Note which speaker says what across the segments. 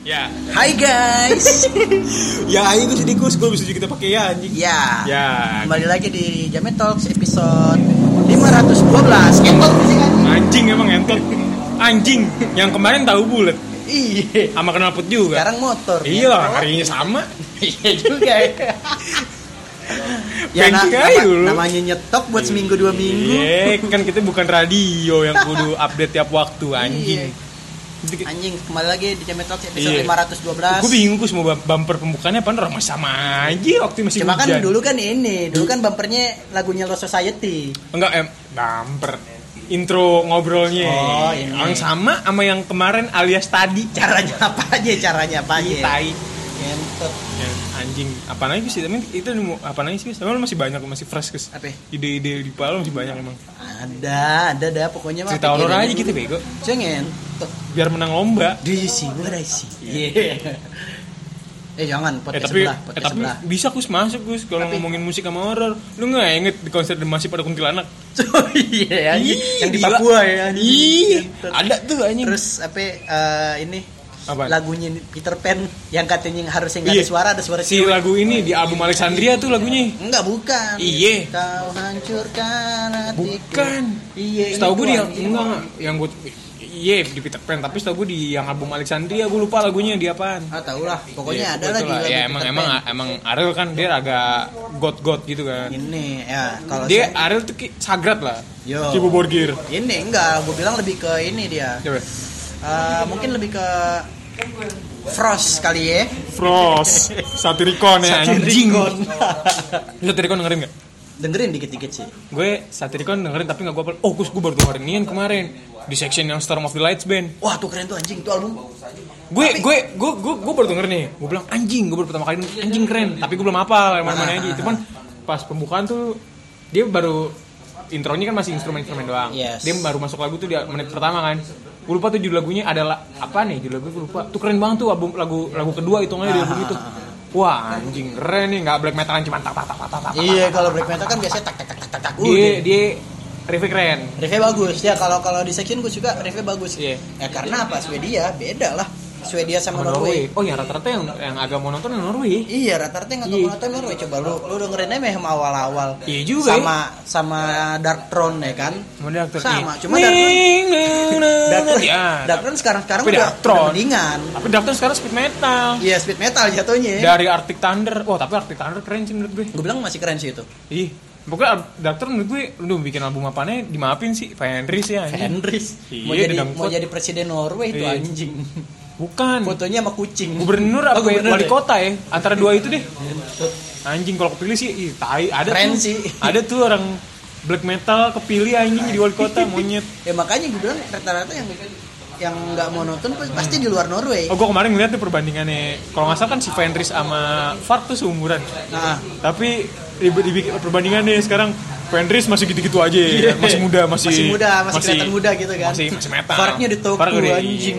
Speaker 1: Hai guys.
Speaker 2: ya aing gue jadi kus gue bisa juga kita pakai ya anjing
Speaker 1: ya.
Speaker 2: ya
Speaker 1: Kembali lagi di Jamet Talks episode 512. Kepot sih kan?
Speaker 2: anjing emang entot anjing yang kemarin tahu bulat
Speaker 1: Iya.
Speaker 2: sama knalpot juga
Speaker 1: Sekarang motor.
Speaker 2: iya
Speaker 1: ya.
Speaker 2: lah harinya sama
Speaker 1: Iya juga. ya. ya na-
Speaker 2: Pengki
Speaker 1: nama-
Speaker 2: kayu lu.
Speaker 1: namanya nyetok buat seminggu dua minggu.
Speaker 2: iya kan kita bukan radio yang kudu update tiap waktu
Speaker 1: Iya.
Speaker 2: anjing
Speaker 1: Anjing, kembali lagi di Jamet Talks episode
Speaker 2: Iya.
Speaker 1: 512.
Speaker 2: gue bingung kus mau bam- bumper pembukanya apa orang masih sama aja waktu masih
Speaker 1: Cuma kan
Speaker 2: hujan
Speaker 1: dulu kan ini, dulu kan bumpernya lagunya Lost Society.
Speaker 2: enggak em bumper intro ngobrolnya
Speaker 1: Oh, ini.
Speaker 2: yang sama sama yang kemarin alias tadi
Speaker 1: Caranya apa aja? Caranya apa aja?
Speaker 2: tai
Speaker 1: Ngentot.
Speaker 2: Ya, anjing apa lagi sih tapi itu mau apa lagi sih sama lu masih banyak masih fresh kus
Speaker 1: Apa? ya?
Speaker 2: ide-ide di kepala lu masih banyak emang
Speaker 1: Ada, ada, ada. Pokoknya mah
Speaker 2: cerita horor
Speaker 1: pikirin.
Speaker 2: aja gitu bego
Speaker 1: Cuy ngentot.
Speaker 2: biar menang lomba
Speaker 1: Do you see what I see? Eh jangan,
Speaker 2: eh
Speaker 1: podcast
Speaker 2: tapi
Speaker 1: sebelah,
Speaker 2: eh,
Speaker 1: podcast
Speaker 2: tapi
Speaker 1: sebelah.
Speaker 2: bisa kus masuk kus kalau
Speaker 1: Tapi-
Speaker 2: ngomongin musik sama horor lu nggak inget di konser demasi pada kuntilanak
Speaker 1: Oh iya, anjing.
Speaker 2: Ih,
Speaker 1: yang di
Speaker 2: gila.
Speaker 1: Papua ya. anjing.
Speaker 2: Ih,
Speaker 1: Ngentot.
Speaker 2: ada tuh anjing
Speaker 1: Terus apa eh, ini
Speaker 2: Apaan?
Speaker 1: lagunya Peter Pan yang katanya harusnya nggak
Speaker 2: Iya.
Speaker 1: ada suara, ada suara
Speaker 2: si
Speaker 1: cewek.
Speaker 2: lagu ini di album Alexandria tuh lagunya
Speaker 1: Enggak bukan.
Speaker 2: Iya.
Speaker 1: Kau hancurkan hatiku.
Speaker 2: bukan
Speaker 1: Iya.
Speaker 2: setahu gue
Speaker 1: itu,
Speaker 2: di
Speaker 1: anjing.
Speaker 2: enggak enggak. yang gue iya di Peter Pan tapi setahu gue di yang album Alexandria gue lupa lagunya di apaan
Speaker 1: Ah tahu lah, pokoknya
Speaker 2: Iya,
Speaker 1: ada
Speaker 2: betul
Speaker 1: lagi
Speaker 2: lah.
Speaker 1: lagu
Speaker 2: ya
Speaker 1: Peter
Speaker 2: emang
Speaker 1: Pan.
Speaker 2: emang emang Ariel kan dia agak god god gitu kan
Speaker 1: ini ya kalau
Speaker 2: dia
Speaker 1: saya-
Speaker 2: Ariel tuh ki- sagrat lah Iya.
Speaker 1: Yo.
Speaker 2: Cibo Borgir
Speaker 1: ini enggak, gue bilang lebih ke ini dia.
Speaker 2: coba
Speaker 1: Eh, mungkin lebih ke Frost kali ya.
Speaker 2: Frost Satiricon ya anjing
Speaker 1: Satiricon.
Speaker 2: Lu Satiricon dengerin gak?
Speaker 1: Dengerin dikit-dikit sih.
Speaker 2: gue Satiricon dengerin tapi gak gue upload oh kus gue baru dengerin Ian kemarin di section yang Storm of the Lights Band
Speaker 1: Wah tuh keren tuh anjing tuh album.
Speaker 2: gue gue gue gue gue baru denger nih gue bilang anjing gue baru pertama kali denger, anjing keren tapi gue belum hafal yang mana-mana aja cuman pas pembukaan tuh dia baru intronya kan masih instrumen-instrumen doang
Speaker 1: Yes.
Speaker 2: dia baru masuk lagu tuh di menit pertama kan gue lupa tuh judul lagunya adalah apa nih judul lagu gue lupa tuh keren banget tuh album lagu lagu kedua itu nggak di album itu wah anjing keren nih nggak black metalan cuma tak tak tak tak tak tak, tak
Speaker 1: Iya kalau black metal kan biasanya tak tak tak tak tak tak.
Speaker 2: dia
Speaker 1: Udah.
Speaker 2: dia Riffi keren
Speaker 1: Riffnya bagus ya kalau kalau di section gue suka riffnya bagus.
Speaker 2: Iya.
Speaker 1: Ya karena apa Swedia beda lah. Swedia sama
Speaker 2: sama Norway
Speaker 1: Norway.
Speaker 2: oh ya rata-rata yang yang agak mau nonton yang Norway
Speaker 1: Iya rata-rata yang
Speaker 2: Iya.
Speaker 1: nggak tahu Norway coba lu lu dengerin aja sama awal-awal.
Speaker 2: Iya juga,
Speaker 1: Sama sama Dark Throne ya kan.
Speaker 2: Kemudian aktor
Speaker 1: Sama,
Speaker 2: ini.
Speaker 1: cuma Dark Throne-
Speaker 2: Ning, neng, neng,
Speaker 1: Dark Throne,
Speaker 2: ya.
Speaker 1: Dark Throne sekarang sekarang
Speaker 2: Tapi
Speaker 1: udah,
Speaker 2: Dark Throne.
Speaker 1: udah mendingan.
Speaker 2: Tapi Dark Throne sekarang speed metal.
Speaker 1: Iya speed metal jatuhnya. ya.
Speaker 2: Dari Arctic Thunder. Wah, tapi Arctic Thunder keren sih menurut gue.
Speaker 1: Gue bilang masih keren sih itu.
Speaker 2: Ih, pokoknya Dark Throne menurut gue lu bikin album apanya dimaafin sih, Fenris ya anjing.
Speaker 1: Henrys
Speaker 2: Iya,
Speaker 1: mau jadi
Speaker 2: dendam
Speaker 1: mau
Speaker 2: kuat.
Speaker 1: jadi presiden Norway itu
Speaker 2: Iya.
Speaker 1: anjing.
Speaker 2: Bukan.
Speaker 1: Fotonya sama kucing.
Speaker 2: Gubernur
Speaker 1: Oh,
Speaker 2: apa ya?
Speaker 1: gubernur
Speaker 2: wali
Speaker 1: ya?
Speaker 2: kota ya? Antara dua itu deh. Anjing kalau kepilih sih ih, tai ada
Speaker 1: Keren
Speaker 2: tuh.
Speaker 1: sih.
Speaker 2: Ada tuh orang black metal kepilih anjing jadi wali kota monyet.
Speaker 1: Ya makanya gue bilang rata-rata yang yang nggak mau nonton pas- pasti di luar Norway.
Speaker 2: Oh, gue kemarin ngeliat tuh perbandingannya. Kalau nggak salah kan si Fenris sama Fark tuh seumuran.
Speaker 1: Nah,
Speaker 2: Tapi dibi- dibikin perbandingan nih sekarang Fenris masih gitu-gitu aja,
Speaker 1: Iya.
Speaker 2: masih muda, masih
Speaker 1: Masih muda, masih kelihatan muda gitu kan.
Speaker 2: Masih masih metal.
Speaker 1: Farknya di toko,
Speaker 2: Fark udah- iya.
Speaker 1: anjing.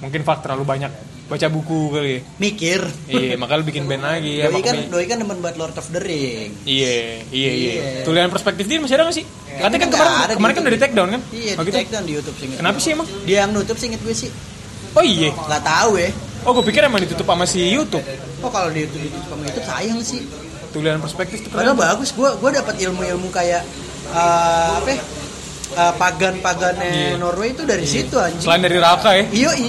Speaker 2: Mungkin Fark terlalu banyak baca buku kali. ya.
Speaker 1: mikir.
Speaker 2: Iya, makanya lu bikin band lagi ya.
Speaker 1: doi kan
Speaker 2: makanya-
Speaker 1: doi kan demen buat Lord of the Ring.
Speaker 2: Iya, iya, iya.
Speaker 1: Iya.
Speaker 2: Tulisan perspektif dia masih ada nggak sih? Katanya kan
Speaker 1: nggak
Speaker 2: kemarin
Speaker 1: ada
Speaker 2: kemarin
Speaker 1: di
Speaker 2: kan
Speaker 1: YouTube.
Speaker 2: udah di take down kan?
Speaker 1: Iya,
Speaker 2: Oh,
Speaker 1: di
Speaker 2: gitu.
Speaker 1: take down di YouTube sih. inget
Speaker 2: Kenapa
Speaker 1: gue.
Speaker 2: sih emang?
Speaker 1: Dia yang nutup sih inget gue sih.
Speaker 2: Oh iya.
Speaker 1: Gak tahu ya.
Speaker 2: Oh, gue pikir emang ditutup sama si YouTube.
Speaker 1: Kok kalau di YouTube itu sama YouTube sayang sih.
Speaker 2: Tulisan perspektif tuh keren.
Speaker 1: Padahal bagus, gue gua dapat ilmu-ilmu kayak eh, apa? ya? Eh, pagan-pagannya Norway itu dari situ
Speaker 2: Iya.
Speaker 1: anjing. Iya,
Speaker 2: Selain dari Raka ya.
Speaker 1: Iyo i.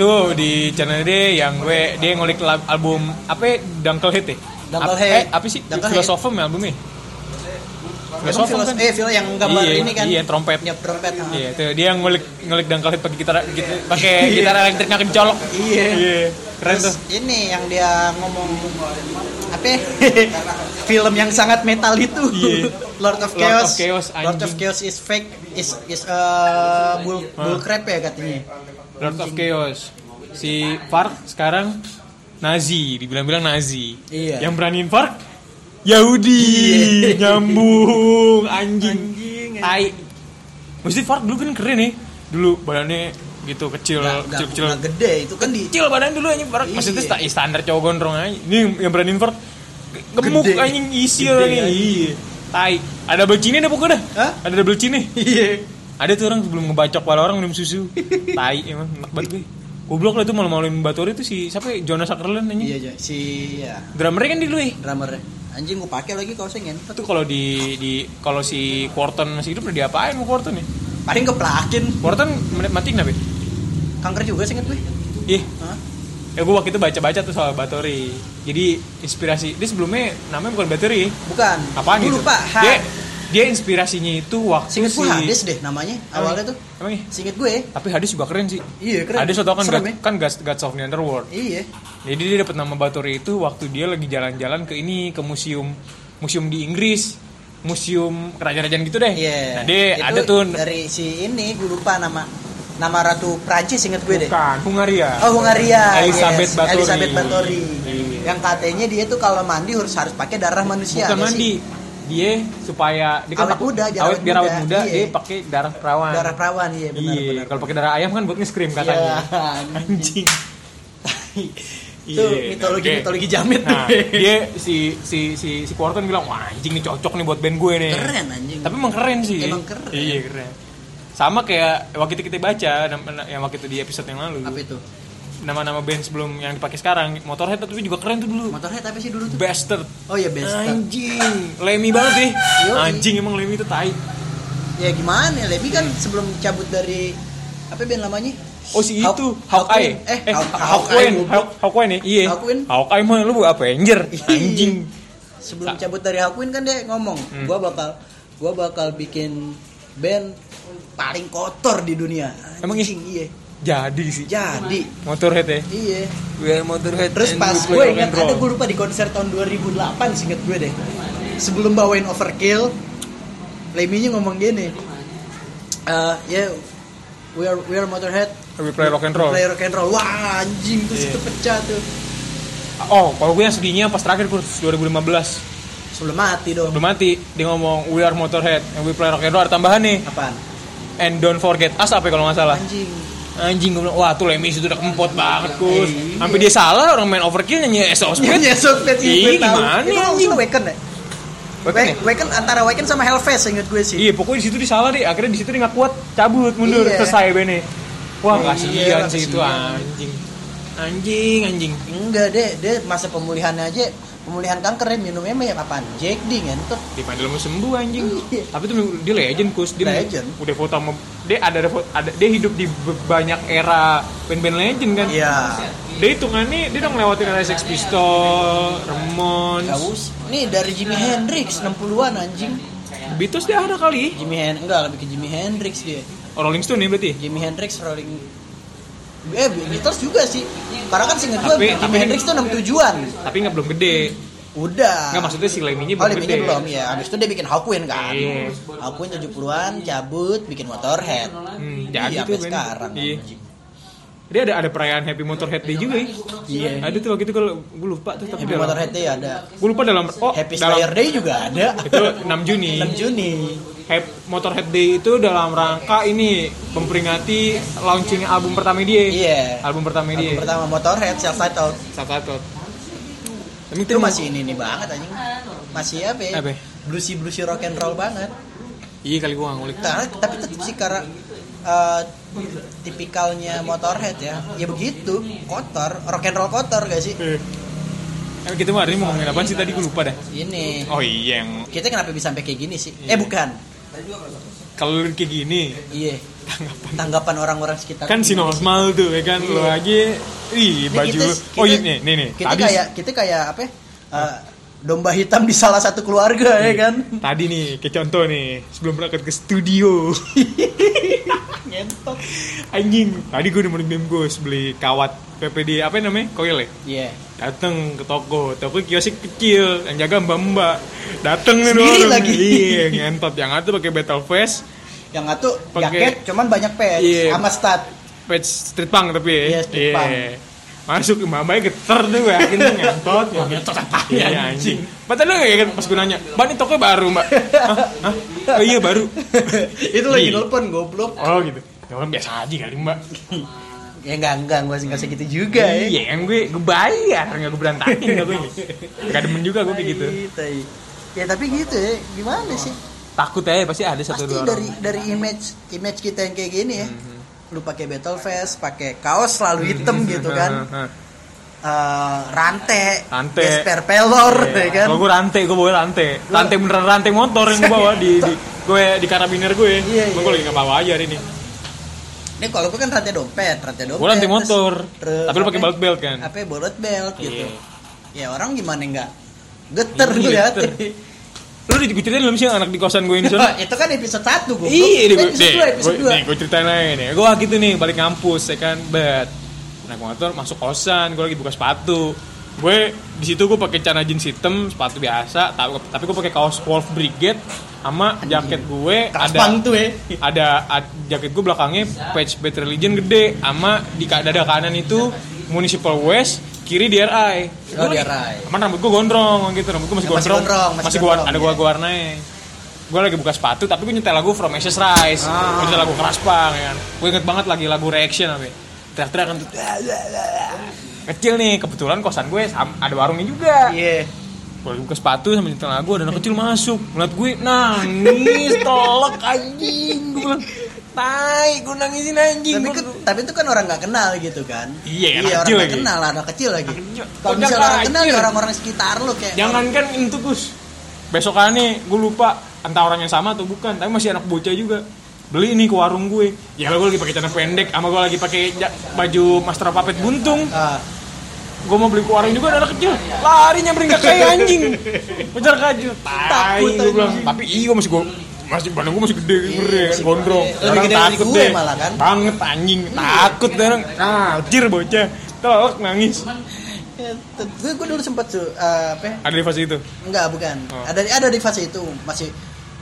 Speaker 2: Tuh di channel dia yang gue dia ngulik lab- album apa ya? Dunkel Hit ya?
Speaker 1: Dunkel
Speaker 2: Ap-
Speaker 1: Hit.
Speaker 2: Eh, apa sih?
Speaker 1: Dunkel
Speaker 2: Filosofem ya albumnya?
Speaker 1: Emang
Speaker 2: Filosofem
Speaker 1: filos,
Speaker 2: kan?
Speaker 1: eh filo yang gambar
Speaker 2: Iya,
Speaker 1: ini kan.
Speaker 2: iya, trompet.
Speaker 1: Nyap trompet. ha.
Speaker 2: Iya, tuh dia yang ngulik ngulik Dunkel Hit pakai gitar git- pakai gitar elektriknya kencolok.
Speaker 1: Iya.
Speaker 2: Keren tuh.
Speaker 1: Terus ini yang dia ngomong apa? ya? Film yang sangat metal itu.
Speaker 2: Iya.
Speaker 1: Lord of
Speaker 2: Lord
Speaker 1: Chaos.
Speaker 2: of Chaos,
Speaker 1: Lord of
Speaker 2: anjing.
Speaker 1: Chaos is fake is is uh, bull bull crap ya
Speaker 2: Iya.
Speaker 1: katanya.
Speaker 2: Eh, Lord of Chaos. Si Fark sekarang Nazi, dibilang-bilang Nazi.
Speaker 1: Iya.
Speaker 2: Yang beraniin Fark Yahudi, nyambung, anjing.
Speaker 1: Anjing, anjing.
Speaker 2: Tai. Mesti Fark dulu kan keren nih. Dulu badannya gitu kecil,
Speaker 1: Nggak- nggak-
Speaker 2: kecil-kecil.
Speaker 1: nggak gede itu kan di
Speaker 2: kecil badan dulu anjing parah
Speaker 1: Iya.
Speaker 2: maksudnya sta- standar cowok gondrong aja ini yang berani invert ge- gemuk
Speaker 1: Gede.
Speaker 2: anjing isi
Speaker 1: Gede
Speaker 2: orang ini
Speaker 1: anjing.
Speaker 2: iya tai ada double chin dah pokoknya dah
Speaker 1: Hah?
Speaker 2: ada double chin nih
Speaker 1: Iya.
Speaker 2: ada tuh orang sebelum ngebacok kepala orang minum susu tai emang enak banget gue Goblok lah itu malu-maluin Batori itu si siapa ya? Jonas Sutherland anjing.
Speaker 1: Iya, iya. Si ya,
Speaker 2: Drummernya kan di lu ya.
Speaker 1: drummernya. Anjing gua pakai lagi kaosnya ngentot.
Speaker 2: Itu kalau di di kalau si Quarton masih hidup udah diapain mau Quarton ya?
Speaker 1: Paling keplakin.
Speaker 2: Quarton men- mati kenapa? ya?
Speaker 1: Kanker juga sih inget gue.
Speaker 2: Ih,
Speaker 1: Hah?
Speaker 2: ya gue waktu itu baca-baca tuh soal Batori. Jadi inspirasi dia sebelumnya namanya bukan ya. Batori.
Speaker 1: Bukan.
Speaker 2: Apaan
Speaker 1: Gua
Speaker 2: gitu?
Speaker 1: lupa. Ha.
Speaker 2: Dia dia inspirasinya itu waktu
Speaker 1: Singet
Speaker 2: si
Speaker 1: gue Hades deh namanya. Awalnya tuh.
Speaker 2: Emang ya?
Speaker 1: Singet gue.
Speaker 2: Tapi Hades juga keren sih.
Speaker 1: Iya, keren.
Speaker 2: Hades lo tau kan
Speaker 1: Serem
Speaker 2: God,
Speaker 1: ya?
Speaker 2: kan God, Gods of the Underworld.
Speaker 1: Iya.
Speaker 2: Jadi dia dapat nama Batori itu waktu dia lagi jalan-jalan ke ini ke museum museum di Inggris, museum kerajaan-kerajaan gitu deh.
Speaker 1: Iya.
Speaker 2: Nah, dia
Speaker 1: Itu
Speaker 2: ada tuh
Speaker 1: dari si ini gue lupa nama nama ratu Prancis inget gue deh.
Speaker 2: bukan kan, Hungaria.
Speaker 1: Oh Hungaria.
Speaker 2: Elizabeth
Speaker 1: yes.
Speaker 2: Bathory.
Speaker 1: Elizabeth Bathory.
Speaker 2: Iya.
Speaker 1: Yang katanya dia tuh kalau mandi harus harus pakai darah manusia.
Speaker 2: Bukan
Speaker 1: ya
Speaker 2: mandi.
Speaker 1: sih?
Speaker 2: Dia supaya dia
Speaker 1: Awet
Speaker 2: takut-
Speaker 1: muda, dia
Speaker 2: awet,
Speaker 1: awet
Speaker 2: biar awet
Speaker 1: muda.
Speaker 2: muda,
Speaker 1: Iya.
Speaker 2: dia pakai darah perawan.
Speaker 1: Darah perawan iya
Speaker 2: Iya,
Speaker 1: benar-benar.
Speaker 2: kalau pakai darah ayam kan buat nge-scream
Speaker 1: Iya.
Speaker 2: katanya. Anjing. Iya,
Speaker 1: Itu mitologi mitologi jamet tuh.
Speaker 2: Nah, dia si si si si Quarton bilang, "Wah, anjing nih cocok nih buat band gue nih."
Speaker 1: Keren anjing.
Speaker 2: Tapi emang keren sih.
Speaker 1: Emang keren.
Speaker 2: Iya, keren. Sama kayak waktu itu kita baca nam- yang waktu itu di episode yang lalu.
Speaker 1: Apa itu?
Speaker 2: Nama-nama band sebelum yang dipakai sekarang, Motorhead tapi juga keren tuh dulu.
Speaker 1: Motorhead tapi sih dulu tuh.
Speaker 2: Bastard.
Speaker 1: Oh iya best.
Speaker 2: Anjing, lemi banget sih.
Speaker 1: Yoi.
Speaker 2: Anjing emang lemi itu tai.
Speaker 1: Ya gimana ya, Levi kan sebelum cabut dari apa band lamanya?
Speaker 2: Oh si
Speaker 1: Hawk-
Speaker 2: itu, Hawkeye.
Speaker 1: Eh,
Speaker 2: eh
Speaker 1: Hawk-
Speaker 2: Hawkeye,
Speaker 1: Hawkeye.
Speaker 2: Hawk- Hawkeye nih. Iya.
Speaker 1: Hawkeye.
Speaker 2: Hawkeye mah lu Avenger.
Speaker 1: Iya.
Speaker 2: Anjing.
Speaker 1: Sebelum cabut dari Hawkwind kan dia ngomong,
Speaker 2: Hmm.
Speaker 1: gua bakal gua bakal bikin band paling kotor di dunia.
Speaker 2: Emang
Speaker 1: Anjing, iya.
Speaker 2: Jadi sih.
Speaker 1: Jadi,
Speaker 2: Motorhead ya.
Speaker 1: iya.
Speaker 2: We are Motorhead.
Speaker 1: Terus
Speaker 2: and
Speaker 1: pas
Speaker 2: we play
Speaker 1: gue
Speaker 2: rock
Speaker 1: ingat
Speaker 2: and roll.
Speaker 1: ada gue lupa di konser tahun 2008 singkat gue deh. Sebelum bawain Overkill, Leminya ngomong gini. Eh, ya we are we are Motorhead.
Speaker 2: We play rock and roll.
Speaker 1: Play rock and roll. Wah, anjing terus
Speaker 2: Iya.
Speaker 1: itu pecah tuh.
Speaker 2: Oh, kalau gue yang sedihnya pas terakhir gue 2015
Speaker 1: Sebelum mati dong.
Speaker 2: belum mati dia ngomong we are Motorhead and we play rock and roll ada tambahan nih
Speaker 1: Apaan?
Speaker 2: and don't forget us apa ya kalau nggak salah
Speaker 1: Anjing.
Speaker 2: anjing gue bilang wah tuh Lemmy itu udah kempot banget kus
Speaker 1: Iya.
Speaker 2: sampai dia salah orang main overkill nyanyi SOS Speed
Speaker 1: Iya, iya, Soulfest
Speaker 2: Ih,
Speaker 1: gue tahu.
Speaker 2: gimana
Speaker 1: Itu
Speaker 2: anjing?
Speaker 1: langsung Waken ya?
Speaker 2: Waken ya?
Speaker 1: Wa- Waken antara Waken sama Hellfest inget gue sih.
Speaker 2: Iya, pokoknya di situ dia salah deh. Akhirnya di situ dia nggak kuat, cabut, mundur,
Speaker 1: Iya.
Speaker 2: selesai bene. Wah, kasihan
Speaker 1: Iya,
Speaker 2: sih itu
Speaker 1: kasihan.
Speaker 2: anjing. Anjing, anjing.
Speaker 1: Enggak deh, deh masa pemulihannya aja pemulihan kanker ya minumnya mah ya apaan? Jack D ngentot.
Speaker 2: Di padahal mau sembuh anjing.
Speaker 1: Iya.
Speaker 2: Tapi tuh dia legend, Kus. Dia
Speaker 1: Legend.
Speaker 2: Udah foto sama dia ada ada, fo- ada dia hidup di be- banyak era band-band legend kan.
Speaker 1: Iya.
Speaker 2: Dia hitungannya dia udah ngelewatin era Sex Pistol, Ramones,
Speaker 1: Aus. Nih dari Jimi Hendrix 60-an anjing.
Speaker 2: Beatles dia ada kali.
Speaker 1: Jimi Hen enggak lebih ke Jimi Hendrix dia.
Speaker 2: Oh, Rolling Stone ya berarti.
Speaker 1: Jimi Hendrix Rolling Eh, Beatles juga sih. Karena kan singkat
Speaker 2: Tapi-
Speaker 1: gue Jimi
Speaker 2: tapi-
Speaker 1: Hendrix tuh 67-an.
Speaker 2: Tapi nggak belum gede.
Speaker 1: Udah.
Speaker 2: Nggak maksudnya si Lemmy-nya
Speaker 1: Oh,
Speaker 2: belum
Speaker 1: Lemmy-nya
Speaker 2: gede.
Speaker 1: belum ya. Abis itu dia bikin Hawkwind kan.
Speaker 2: Iya.
Speaker 1: Hawkwind 70-an, cabut, bikin Motorhead.
Speaker 2: Hmm,
Speaker 1: Iya,
Speaker 2: jadi tuh
Speaker 1: sampai
Speaker 2: Ben.
Speaker 1: sekarang.
Speaker 2: Iya. Dia ada ada perayaan Happy Motorhead Day juga ya.
Speaker 1: Iya.
Speaker 2: Ada tuh waktu itu kalau gue lupa tuh tapi
Speaker 1: Happy
Speaker 2: dalam-
Speaker 1: Motorhead Day ya ada.
Speaker 2: Gue lupa dalam oh
Speaker 1: Happy
Speaker 2: dalam
Speaker 1: Slayer Day juga ada.
Speaker 2: itu 6 Juni.
Speaker 1: 6 Juni.
Speaker 2: Hap- Motorhead Day itu dalam rangka ini memperingati launching album pertama dia.
Speaker 1: Iya.
Speaker 2: Eh, Album pertama
Speaker 1: Album
Speaker 2: dia.
Speaker 1: pertama Motorhead, Self Titled.
Speaker 2: Sakatot. Tapi
Speaker 1: Itu masih ini nih banget anjing. Masih apa ya?
Speaker 2: Apa?
Speaker 1: Bluesy-bluesy rock and roll banget.
Speaker 2: Iya kali gue ngulik.
Speaker 1: Karena- tapi tetap Ah, sih karena eh, tipikalnya Motorhead ya. Ya begitu, kotor, rock and roll kotor gak sih?
Speaker 2: Eh, Emang kita mau hari ini mau ngomongin apaan sih tadi gue lupa dah.
Speaker 1: Ini.
Speaker 2: Oh iya yang
Speaker 1: Kita kenapa bisa sampai kayak gini sih?
Speaker 2: Iya.
Speaker 1: Eh bukan.
Speaker 2: kalau lu kayak gini
Speaker 1: Iya.
Speaker 2: tanggapan
Speaker 1: Tanggapan orang-orang sekitar.
Speaker 2: kan si normal tuh ya kan lo
Speaker 1: Iya.
Speaker 2: lagi ih
Speaker 1: Ini
Speaker 2: baju
Speaker 1: kita-
Speaker 2: lu- oh iya
Speaker 1: kita-
Speaker 2: nih nih nih
Speaker 1: Kita kayak kita kayak apa? ya, eh, domba hitam di salah satu keluarga ya kan?
Speaker 2: Iya Tadi nih, ke contoh nih, sebelum berangkat ke studio.
Speaker 1: Ngentot.
Speaker 2: Anjing, tadi gue nemenin Bim Gus beli kawat PPD apa namanya? Koil ya?
Speaker 1: Iya.
Speaker 2: Dateng ke toko, toko kiosik kecil, yang jaga mbak-mbak. Dateng nih
Speaker 1: Sendiri
Speaker 2: orang.
Speaker 1: lagi.
Speaker 2: Iya, ngentot yang ada pakai battle face,
Speaker 1: Yang satu
Speaker 2: Pakai-
Speaker 1: jaket cuman banyak patch
Speaker 2: Iya.
Speaker 1: sama stat.
Speaker 2: patch street punk tapi ya.
Speaker 1: Iya, street punk.
Speaker 2: Masuk mbak-mbaknya geter tuh gue yakin tuh ngentot. ngentot apa ya anjing. Padahal lu ya kan pas gue nanya, "Mbak ini toko baru, Mbak." Hah? Hah? Oh iya baru.
Speaker 1: Itu lagi
Speaker 2: Iya.
Speaker 1: nelpon goblok.
Speaker 2: Oh gitu. Ya orang biasa aja kali, Mbak.
Speaker 1: Ya enggak enggak gua sih enggak segitu juga ya.
Speaker 2: Iya kan gue gue bayar nggak gue berantakin nggak gue. Gak demen juga gue kayak gitu.
Speaker 1: Tai, tai. Ya tapi gitu ya, gimana sih?
Speaker 2: Takut aja pasti ada satu
Speaker 1: Pasti
Speaker 2: dua
Speaker 1: dari
Speaker 2: orang.
Speaker 1: dari image image kita yang kayak gini ya.
Speaker 2: Mhm.
Speaker 1: lu pakai battle vest pakai kaos selalu hitam gitu
Speaker 2: Heeh,
Speaker 1: kan
Speaker 2: heeh.
Speaker 1: Eh, rantai
Speaker 2: Rantai.
Speaker 1: gesper pelor ya kan
Speaker 2: Iya. Kalau gue rantai, gue bawa rantai. Rantai beneran rantai motor yang gue bawa di, di gue di karabiner gue. Gua-
Speaker 1: Iya, iya.
Speaker 2: Gue lagi nggak bawa aja hari ini.
Speaker 1: ini kalau gue kan rantai dompet rantai dompet
Speaker 2: Gue rantai
Speaker 1: terus-
Speaker 2: motor.
Speaker 1: terus
Speaker 2: Tapi lu pakai
Speaker 1: apa-
Speaker 2: belt belt kan.
Speaker 1: apa bolot belt gitu
Speaker 2: Iya.
Speaker 1: ya orang gimana nggak geter
Speaker 2: Iya,
Speaker 1: ngeliat
Speaker 2: geter. Lu udah diceritain belum sih yang anak di kosan gue ini sana?
Speaker 1: itu kan episode 1 gue
Speaker 2: Iya, nih, gue,
Speaker 1: episode
Speaker 2: deh,
Speaker 1: 2 episode
Speaker 2: gue-
Speaker 1: 2
Speaker 2: nih, gue ceritain lagi nih. Gue gitu nih, balik ngampus, ya kan, bet. Naik motor, masuk kosan, gue lagi buka sepatu. Gue di situ gue pakai celana jeans hitam, sepatu biasa, tapi, tapi gue pakai kaos Wolf Brigade sama jaket gue ada
Speaker 1: kaspang tuh ya
Speaker 2: ada ad- jaket gue belakangnya patch Bad Religion gede sama di ka- dada kanan itu Municipal West kiri DRI.
Speaker 1: Oh,
Speaker 2: Gua lagi-
Speaker 1: DRI.
Speaker 2: Aman rambut gue gondrong gitu, rambut gue masih,
Speaker 1: Ya, masih
Speaker 2: gondrong,
Speaker 1: gondrong, masih
Speaker 2: masih, gua
Speaker 1: gondrong,
Speaker 2: ada
Speaker 1: ya.
Speaker 2: gua gua warnain. Gue lagi buka sepatu tapi gue nyetel lagu From Ashes Rise. Gua
Speaker 1: Ah.
Speaker 2: nyetel lagu keras pang ya kan. Gue inget banget lagi lagu Reaction apa. ya. Teriak-teriak kan tuh. "Dah, dah, dah, dah." Kecil nih, kebetulan kosan gue sam- ada warungnya juga
Speaker 1: iya
Speaker 2: gue buka sepatu sama nyetel lagu ada anak kecil masuk ngeliat gue nangis tolak anjing gue bilang tai gue nangisin anjing
Speaker 1: tapi
Speaker 2: gue
Speaker 1: kan tapi itu kan orang nggak kenal gitu kan
Speaker 2: Iya, anak
Speaker 1: orang
Speaker 2: kecil
Speaker 1: nggak
Speaker 2: lagi.
Speaker 1: kenal anak kecil lagi
Speaker 2: Anak kecil.
Speaker 1: kalau
Speaker 2: Kocak
Speaker 1: misalnya orang
Speaker 2: lah,
Speaker 1: kenal ya
Speaker 2: anjir.
Speaker 1: orang-orang sekitar lu kayak
Speaker 2: jangan kan itu gus besokannya gue lupa entah orang yang sama atau bukan tapi masih anak bocah juga beli nih ke warung gue ya gue lagi pakai celana pendek sama gue lagi pakai ja- baju master puppet buntung
Speaker 1: Ah,
Speaker 2: gue mau beli ke warung juga ada anak kecil lari nyamperin gak kayak anjing kejar kaju tai
Speaker 1: Takut,
Speaker 2: gue bilang
Speaker 1: anjing.
Speaker 2: tapi iya masih gue masih badan gue masih gede gede Iya. kan
Speaker 1: masih
Speaker 2: gondrong
Speaker 1: gede. Lebih gede dari gue malah, kan?
Speaker 2: banget anjing takut deh orang ah anjir bocah telok nangis
Speaker 1: ya, t- gue gue dulu sempat tuh eh, apa ya?
Speaker 2: ada di fase itu
Speaker 1: Enggak, bukan.
Speaker 2: Oh.
Speaker 1: Ada ada di fase itu masih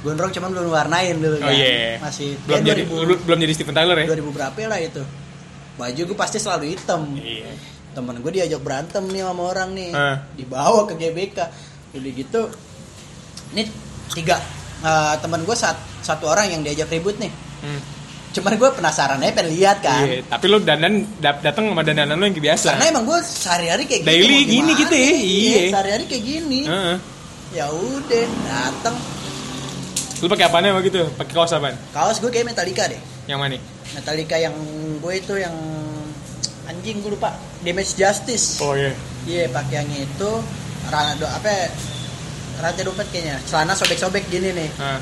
Speaker 1: gondrong cuman belum warnain dulu
Speaker 2: oh
Speaker 1: kan.
Speaker 2: iya
Speaker 1: Masih
Speaker 2: belum
Speaker 1: ya,
Speaker 2: jadi belum- belum jadi Steven Tyler ya
Speaker 1: 2000 berapa lah itu. Baju gue pasti selalu hitam.
Speaker 2: iya
Speaker 1: Temen gue diajak berantem nih sama orang nih.
Speaker 2: Eh.
Speaker 1: Dibawa ke GBK. Udah gitu ini tiga eh, temen gue sat- satu orang yang diajak ribut nih.
Speaker 2: Hmm.
Speaker 1: Cuman gue penasaran aja pengen lihat kan.
Speaker 2: Iya, tapi lo dandan dat- datang sama dandanan lo yang biasa
Speaker 1: Karena emang gue sehari-hari kayak
Speaker 2: Daily
Speaker 1: gitu. mau
Speaker 2: gini
Speaker 1: gimana
Speaker 2: gitu ya,
Speaker 1: nih?
Speaker 2: iya.
Speaker 1: Sehari-hari kayak gini.
Speaker 2: Heeh.
Speaker 1: Ya udah, datang.
Speaker 2: lo pakai apaan emang gitu pakai kaos apaan
Speaker 1: Kaos gue kayak Metallica deh.
Speaker 2: yang mana nih?
Speaker 1: Metallica yang gue itu yang anjing gue lupa Damage Justice
Speaker 2: oh iya
Speaker 1: iya pakai yang itu rana do apa ya, rantai dompet kayaknya celana sobek-sobek gini nih
Speaker 2: Ah,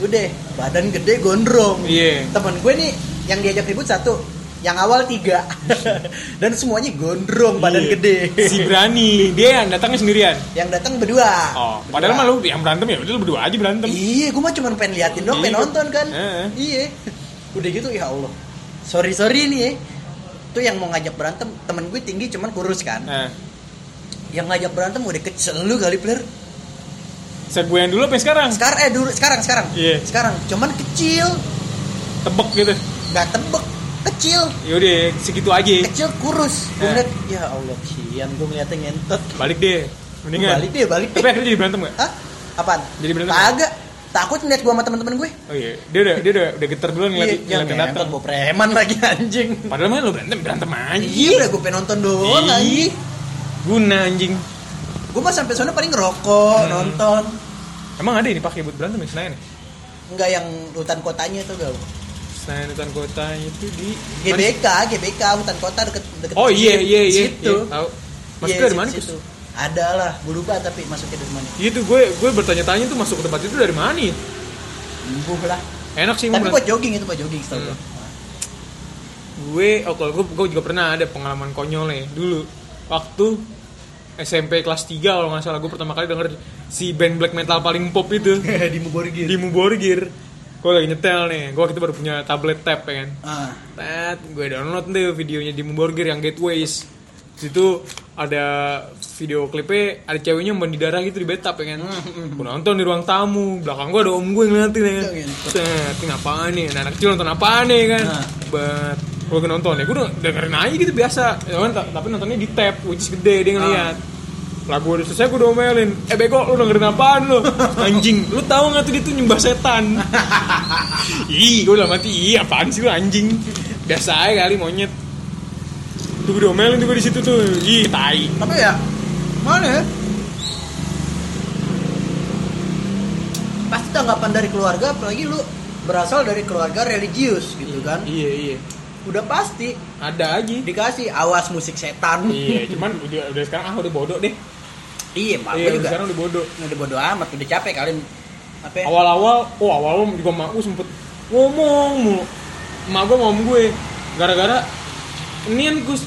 Speaker 1: udah badan gede gondrong
Speaker 2: iya
Speaker 1: temen gue nih yang diajak ribut satu yang awal tiga dan semuanya gondrong badan
Speaker 2: Iya.
Speaker 1: gede
Speaker 2: si berani dia yang datangnya sendirian
Speaker 1: yang datang berdua
Speaker 2: oh padahal mah lu yang berantem ya udah lu berdua aja berantem
Speaker 1: iya gue mah cuma pengen liatin dong pengen
Speaker 2: Iya.
Speaker 1: nonton kan
Speaker 2: Heeh.
Speaker 1: iya udah gitu ya Allah sorry sorry nih ya tuh yang mau ngajak berantem temen gue tinggi cuman kurus kan
Speaker 2: nah
Speaker 1: yang ngajak berantem udah kecil lu kali player
Speaker 2: set gue yang dulu apa yang sekarang
Speaker 1: sekarang eh dulu sekarang sekarang
Speaker 2: Iya.
Speaker 1: sekarang cuman kecil
Speaker 2: tebek gitu
Speaker 1: nggak tebek kecil
Speaker 2: yaudah segitu aja
Speaker 1: kecil kurus gue
Speaker 2: Eh.
Speaker 1: ngeliat ya Allah kian gue ngeliatnya ngentot
Speaker 2: balik deh mendingan
Speaker 1: balik deh balik
Speaker 2: tapi
Speaker 1: deh
Speaker 2: akhirnya jadi berantem gak?
Speaker 1: Hah? apaan
Speaker 2: Jadi berantem?
Speaker 1: kagak takut ngeliat gue sama teman-teman gue
Speaker 2: oh iya dia udah dia udah, udah geter duluan ngeliat
Speaker 1: Iya,
Speaker 2: ngeliat yang datang
Speaker 1: ngentot gue preman lagi anjing
Speaker 2: padahal mah lu berantem berantem aja
Speaker 1: Iya, udah gue pengen nonton doang
Speaker 2: Iya.
Speaker 1: anjing.
Speaker 2: guna anjing
Speaker 1: Gue mah sampai sana paling ngerokok,
Speaker 2: Hmm.
Speaker 1: nonton.
Speaker 2: emang ada ini pakai buat berantem ya Senayan ya?
Speaker 1: Enggak yang hutan kotanya tuh gak.
Speaker 2: Senayan hutan kota itu di
Speaker 1: GBK, GBK hutan kota deket deket.
Speaker 2: oh iya iya iya
Speaker 1: Situ.
Speaker 2: Iya, tahu
Speaker 1: Iya,
Speaker 2: maksudnya dari mana
Speaker 1: situ-
Speaker 2: Gus?
Speaker 1: situ. Ada lah, berubah tapi masuknya dari mana?
Speaker 2: Iya tuh gue gue bertanya-tanya tuh masuk ke tempat itu dari mana? ya?
Speaker 1: Embuh lah.
Speaker 2: Enak sih
Speaker 1: Tapi
Speaker 2: menurut-
Speaker 1: buat jogging itu buat jogging setahu
Speaker 2: Hmm.
Speaker 1: gue.
Speaker 2: gue oh kalau gue, gue juga pernah ada pengalaman konyol nih dulu waktu SMP kelas 3 kalau nggak salah gue pertama kali denger si band black metal paling pop itu
Speaker 1: Di
Speaker 2: Iya.
Speaker 1: Muborgir.
Speaker 2: di gitu. Muborgir gue lagi nyetel nih gue waktu itu baru punya tablet tab ya kan
Speaker 1: Ah,
Speaker 2: Tet, gue download deh videonya di Muborgir yang Gateways. Di situ ada video klipnya ada ceweknya mandi darah gitu di bathtub ya kan. Gue nonton di ruang tamu, belakang gue ada om gue ngeliatin ya kan.
Speaker 1: Gitu.
Speaker 2: Set, ini apaan nih? Nah, anak kecil nonton apaan nih kan?
Speaker 1: Nah.
Speaker 2: Bet. Gue lagi nonton ya, gue udah dengerin aja gitu biasa. Ya kan, ta- tapi nontonnya di tab, which is gede dia ngeliat. Lagu udah selesai gue domelin Eh bego lu dengerin apaan lu Anjing Lu tahu gak tuh dia tuh nyembah setan Ih, gue udah mati. Ih, apaan sih lu anjing? Biasa aja kali monyet. Tuh gue diomelin tuh gue di situ tuh. Ih, tai.
Speaker 1: Tapi ya mana? ya? Pasti tanggapan dari keluarga apalagi lu berasal dari keluarga religius gitu kan.
Speaker 2: Iya, iya.
Speaker 1: udah pasti
Speaker 2: ada aja
Speaker 1: dikasih awas musik setan
Speaker 2: iya cuman udah, udah sekarang ah udah bodoh deh
Speaker 1: iya mak
Speaker 2: iya
Speaker 1: gua
Speaker 2: udah
Speaker 1: juga
Speaker 2: sekarang udah bodoh
Speaker 1: udah bodo amat udah capek kalian apa ya?
Speaker 2: awal-awal oh awal juga mak gue sempet ngomong mulu mak gue ngomong gue gara-gara nian gus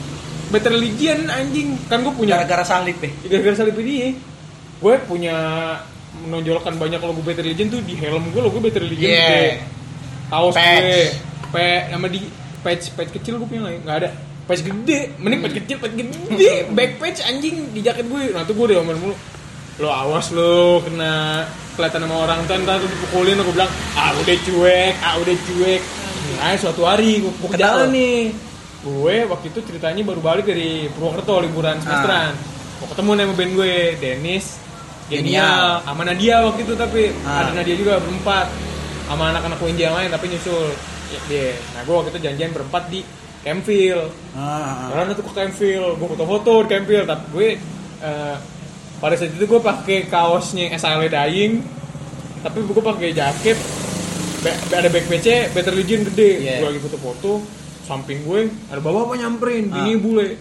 Speaker 2: better religion anjing kan gue punya
Speaker 1: gara-gara salib eh. deh
Speaker 2: gara-gara salib dia gue punya menonjolkan banyak logo better religion tuh di helm gue logo better religion
Speaker 1: Yeah.
Speaker 2: gede. kaos
Speaker 1: Patch.
Speaker 2: gue P sama di patch patch kecil gue punya lagi nggak ada patch gede mending patch kecil patch gede back patch anjing di jaket gue nah tuh gue udah ngomong mulu lo awas lo kena kelihatan sama orang tuh ntar lu dipukulin gue bilang ah udah cuek ah udah cuek nah suatu hari gue, gue ke
Speaker 1: Kenal
Speaker 2: jalan
Speaker 1: lo?
Speaker 2: nih gue waktu itu ceritanya baru balik dari Purwokerto liburan semesteran mau ketemu nih sama band gue Dennis
Speaker 1: Genial.
Speaker 2: Genial sama Nadia waktu itu tapi
Speaker 1: Ah.
Speaker 2: ada Nadia juga berempat sama anak-anak UNJ yang lain tapi nyusul ya, dia nah gue waktu itu janjian berempat di Campfield
Speaker 1: Ah, ah, ah.
Speaker 2: karena tuh ke Campfield gue foto-foto di Campfield tapi gue eh, pada saat itu gue pakai kaosnya SLA E Dying tapi gue pakai jaket be- ada back PC Better Legion gede
Speaker 1: Iya.
Speaker 2: gue lagi foto-foto samping gue ada bawa apa nyamperin
Speaker 1: Ah.
Speaker 2: ini bule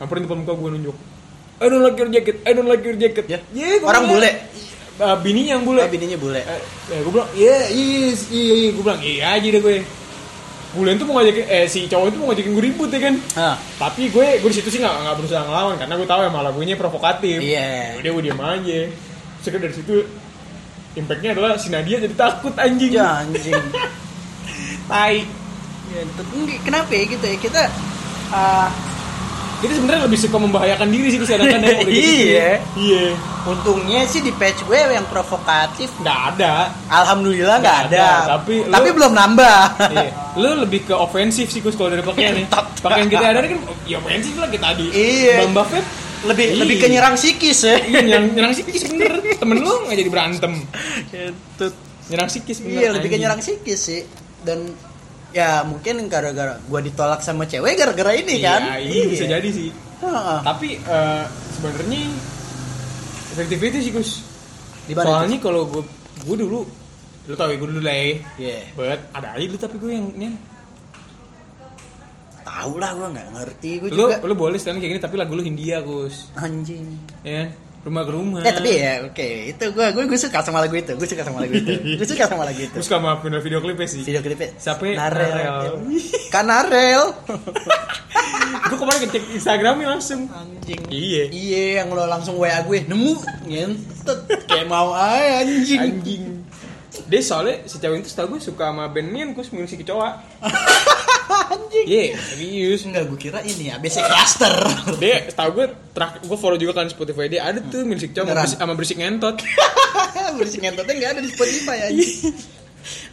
Speaker 2: nyamperin depan muka gue nunjuk I don't like your jacket I don't like your jacket
Speaker 1: Ya.
Speaker 2: Ye, gua
Speaker 1: Orang
Speaker 2: bilang.
Speaker 1: bule?
Speaker 2: Eh, bininya yang bule
Speaker 1: Oh, bininya bule
Speaker 2: eh, gue bilang iya iya iya iya. gue bilang iya aja deh gue bulan tuh mau ngajakin eh si cowok itu mau ngajakin gue ribut ya kan
Speaker 1: ah
Speaker 2: tapi gue gue di situ sih nggak nggak berusaha ngelawan karena gue tahu emang lagunya provokatif
Speaker 1: Iya.
Speaker 2: udah gue diem aja sekitar dari situ impactnya adalah si Nadia jadi takut Iya, anjing
Speaker 1: ya anjing
Speaker 2: tai
Speaker 1: Ya, tet- enggak, kenapa ya gitu ya kita ah,
Speaker 2: jadi sebenarnya lebih suka membahayakan diri sih kesadaran ya udah gitu sih.
Speaker 1: Iya.
Speaker 2: iya
Speaker 1: untungnya sih di patch gue yang provokatif
Speaker 2: nggak ada
Speaker 1: alhamdulillah nggak
Speaker 2: Nggak ada,
Speaker 1: ada,
Speaker 2: tapi lu-
Speaker 1: belum nambah
Speaker 2: Iya. lu lebih ke ofensif sih Gus kalau dari pakaian nih
Speaker 1: Mantap.
Speaker 2: pakaian kita ada kan ya ofensif lah kita tadi
Speaker 1: Iya.
Speaker 2: Bang Buffett
Speaker 1: lebih
Speaker 2: Iya.
Speaker 1: lebih ke nyerang psikis ya
Speaker 2: Iya nyerang, nyerang sikis bener Temen lu gak jadi berantem
Speaker 1: Kentut.
Speaker 2: Nyerang sikis bener
Speaker 1: iya lebih ke
Speaker 2: anjing.
Speaker 1: nyerang psikis sih dan ya mungkin gara-gara gue ditolak sama cewek gara-gara ini
Speaker 2: Iya,
Speaker 1: kan
Speaker 2: iya, bisa jadi sih
Speaker 1: Heeh.
Speaker 2: Tapi eh, sebenarnya Efektif itu sih Gus
Speaker 1: di mana
Speaker 2: Soalnya kalau gue Gue dulu Lu tau ya gue dulu lah ya
Speaker 1: itu? Iya.
Speaker 2: But ada aja dulu tapi gue yang ya. ini
Speaker 1: tahu lah gue nggak ngerti gue
Speaker 2: Lu,
Speaker 1: juga
Speaker 2: lu boleh sekarang kayak gini tapi lagu lu Hindia Gus
Speaker 1: anjing
Speaker 2: Ya Rumah ke rumah
Speaker 1: Eh tapi ya oke itu gue gue gue suka sama lagu itu gue suka sama lagu itu gue suka sama lagu itu
Speaker 2: Terus kamu maafin video klipnya sih
Speaker 1: video klipnya
Speaker 2: Siapa ya?
Speaker 1: Narel,
Speaker 2: Narel.
Speaker 1: kan Narel
Speaker 2: Gue kemarin ngecek Instagramnya langsung
Speaker 1: anjing
Speaker 2: Iya.
Speaker 1: iya yang lo langsung wa gue nemu ngentet kayak mau aja anjing
Speaker 2: Anjing Dia soalnya si cewek itu setahu gue suka sama band Nian Gus Musik Kecoa
Speaker 1: anjing
Speaker 2: Iya serius
Speaker 1: enggak gue kira ini ya basic cluster
Speaker 2: dia tahu gue terakhir gue follow juga kan Spotify dia ada tuh musik cowok sama
Speaker 1: Beneran?
Speaker 2: bersik- sama berisik ngentot
Speaker 1: berisik ngentotnya nggak ada di Spotify anjing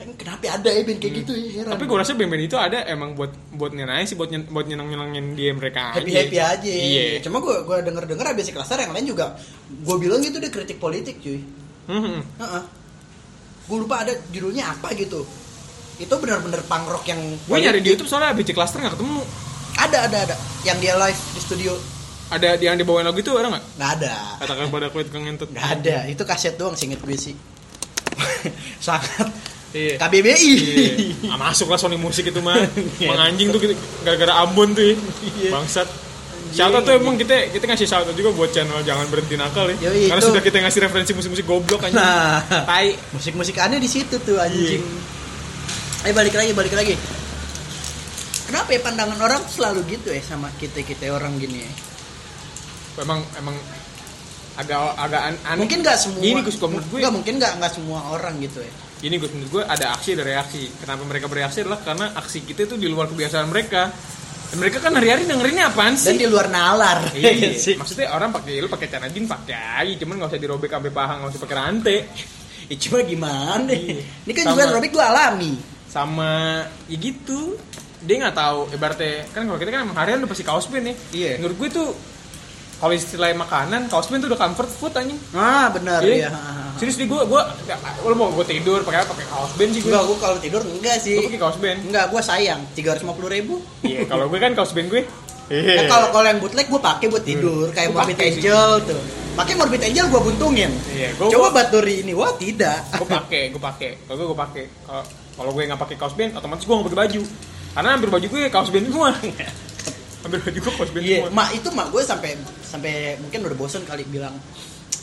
Speaker 1: Anjing, kenapa ada ya band kayak gitu ya heran
Speaker 2: tapi gue rasa band-band itu ada emang buat buat nyenangin sih buat nyen, buat nyenang nyenangin dia mereka
Speaker 1: happy happy aja
Speaker 2: iya
Speaker 1: cuma gue gue denger denger basic cluster yang lain juga gue bilang gitu deh kritik politik cuy
Speaker 2: Mhm.
Speaker 1: Heeh. Gue lupa ada judulnya apa gitu. Itu benar-benar punk rock yang
Speaker 2: gue nyari di YouTube soalnya BC Cluster nggak ketemu
Speaker 1: Ada ada ada yang dia live di studio.
Speaker 2: ada di- yang dibawain lagu itu ada nggak
Speaker 1: nggak ada.
Speaker 2: katakan pada kulit kang ngentot
Speaker 1: nggak ada. Itu kaset doang singet gue sih. Sangat
Speaker 2: iya
Speaker 1: KBBI.
Speaker 2: Iya. Ah, masuk lah Sony Musik itu mah menganjing tuh kita- gara-gara Ambon tuh ya.
Speaker 1: Iya.
Speaker 2: bangsat Shout out tuh emang kita kita ngasih shout out juga buat channel jangan berhenti nakal ya.
Speaker 1: Yoi,
Speaker 2: Karena
Speaker 1: itu.
Speaker 2: sudah kita ngasih referensi musik-musik goblok anjing.
Speaker 1: Nah,
Speaker 2: Tai.
Speaker 1: musik-musik aneh di situ tuh
Speaker 2: Iya.
Speaker 1: anjing. Eh balik lagi, balik lagi. Kenapa ya pandangan orang tuh selalu gitu ya sama kita-kita orang gini ya?
Speaker 2: emang emang agak agak an- aneh
Speaker 1: Mungkin nggak semua.
Speaker 2: gini Gus kalau menurut ya. gue
Speaker 1: Nggak, mungkin nggak nggak semua orang gitu ya.
Speaker 2: gini Gus menurut gue ada aksi ada reaksi kenapa mereka bereaksi adalah karena aksi kita itu di luar kebiasaan mereka Dan mereka kan hari-hari dengerinnya apaan
Speaker 1: Dan
Speaker 2: sih
Speaker 1: di luar nalar.
Speaker 2: Iya,
Speaker 1: sih.
Speaker 2: maksudnya orang pakai lu pakai celana jeans pakai aja, cuman nggak usah dirobek sampai paha, nggak usah pakai rantai.
Speaker 1: Ya cuma gimana?
Speaker 2: Iya.
Speaker 1: Ini kan
Speaker 2: Sama.
Speaker 1: juga robek gue alami.
Speaker 2: Sama ya gitu, dia nggak tahu. Ibaratnya kan kalau kita kan emang harian udah pasti kaos band ya.
Speaker 1: Iya.
Speaker 2: Menurut gue tuh kalau istilah makanan, kaos band tuh udah comfort food anjing.
Speaker 1: Ah benar
Speaker 2: Iya.
Speaker 1: ya.
Speaker 2: Serius nih gue gue lo mau gue tidur pakai apa? pakai kaos band sih gue.
Speaker 1: Enggak, gue kalau tidur enggak
Speaker 2: Gue
Speaker 1: sih.
Speaker 2: pakai kaos band.
Speaker 1: Enggak, gue sayang. 350 ribu.
Speaker 2: Iya, kalau gue kan kaos band gue.
Speaker 1: Ya,
Speaker 2: Iya. Hmm.
Speaker 1: kalau kalau yang bootleg gue pakai buat tidur. Kayak
Speaker 2: Gua
Speaker 1: Morbid
Speaker 2: pakai sih.
Speaker 1: Angel tuh. Pakai Morbid Angel gue buntungin.
Speaker 2: Iya, gua-
Speaker 1: Coba Baturi ini, wah tidak.
Speaker 2: gue pakai, gue pakai. Kalau gue gue pakai. Kalau- Kalau gue nggak pakai kaos band, otomatis gue nggak pakai baju. Karena hampir baju gue kaos band semua. hampir baju gue kaos band
Speaker 1: Iya,
Speaker 2: semua.
Speaker 1: mak itu mak gue sampai sampai mungkin udah bosen kali bilang,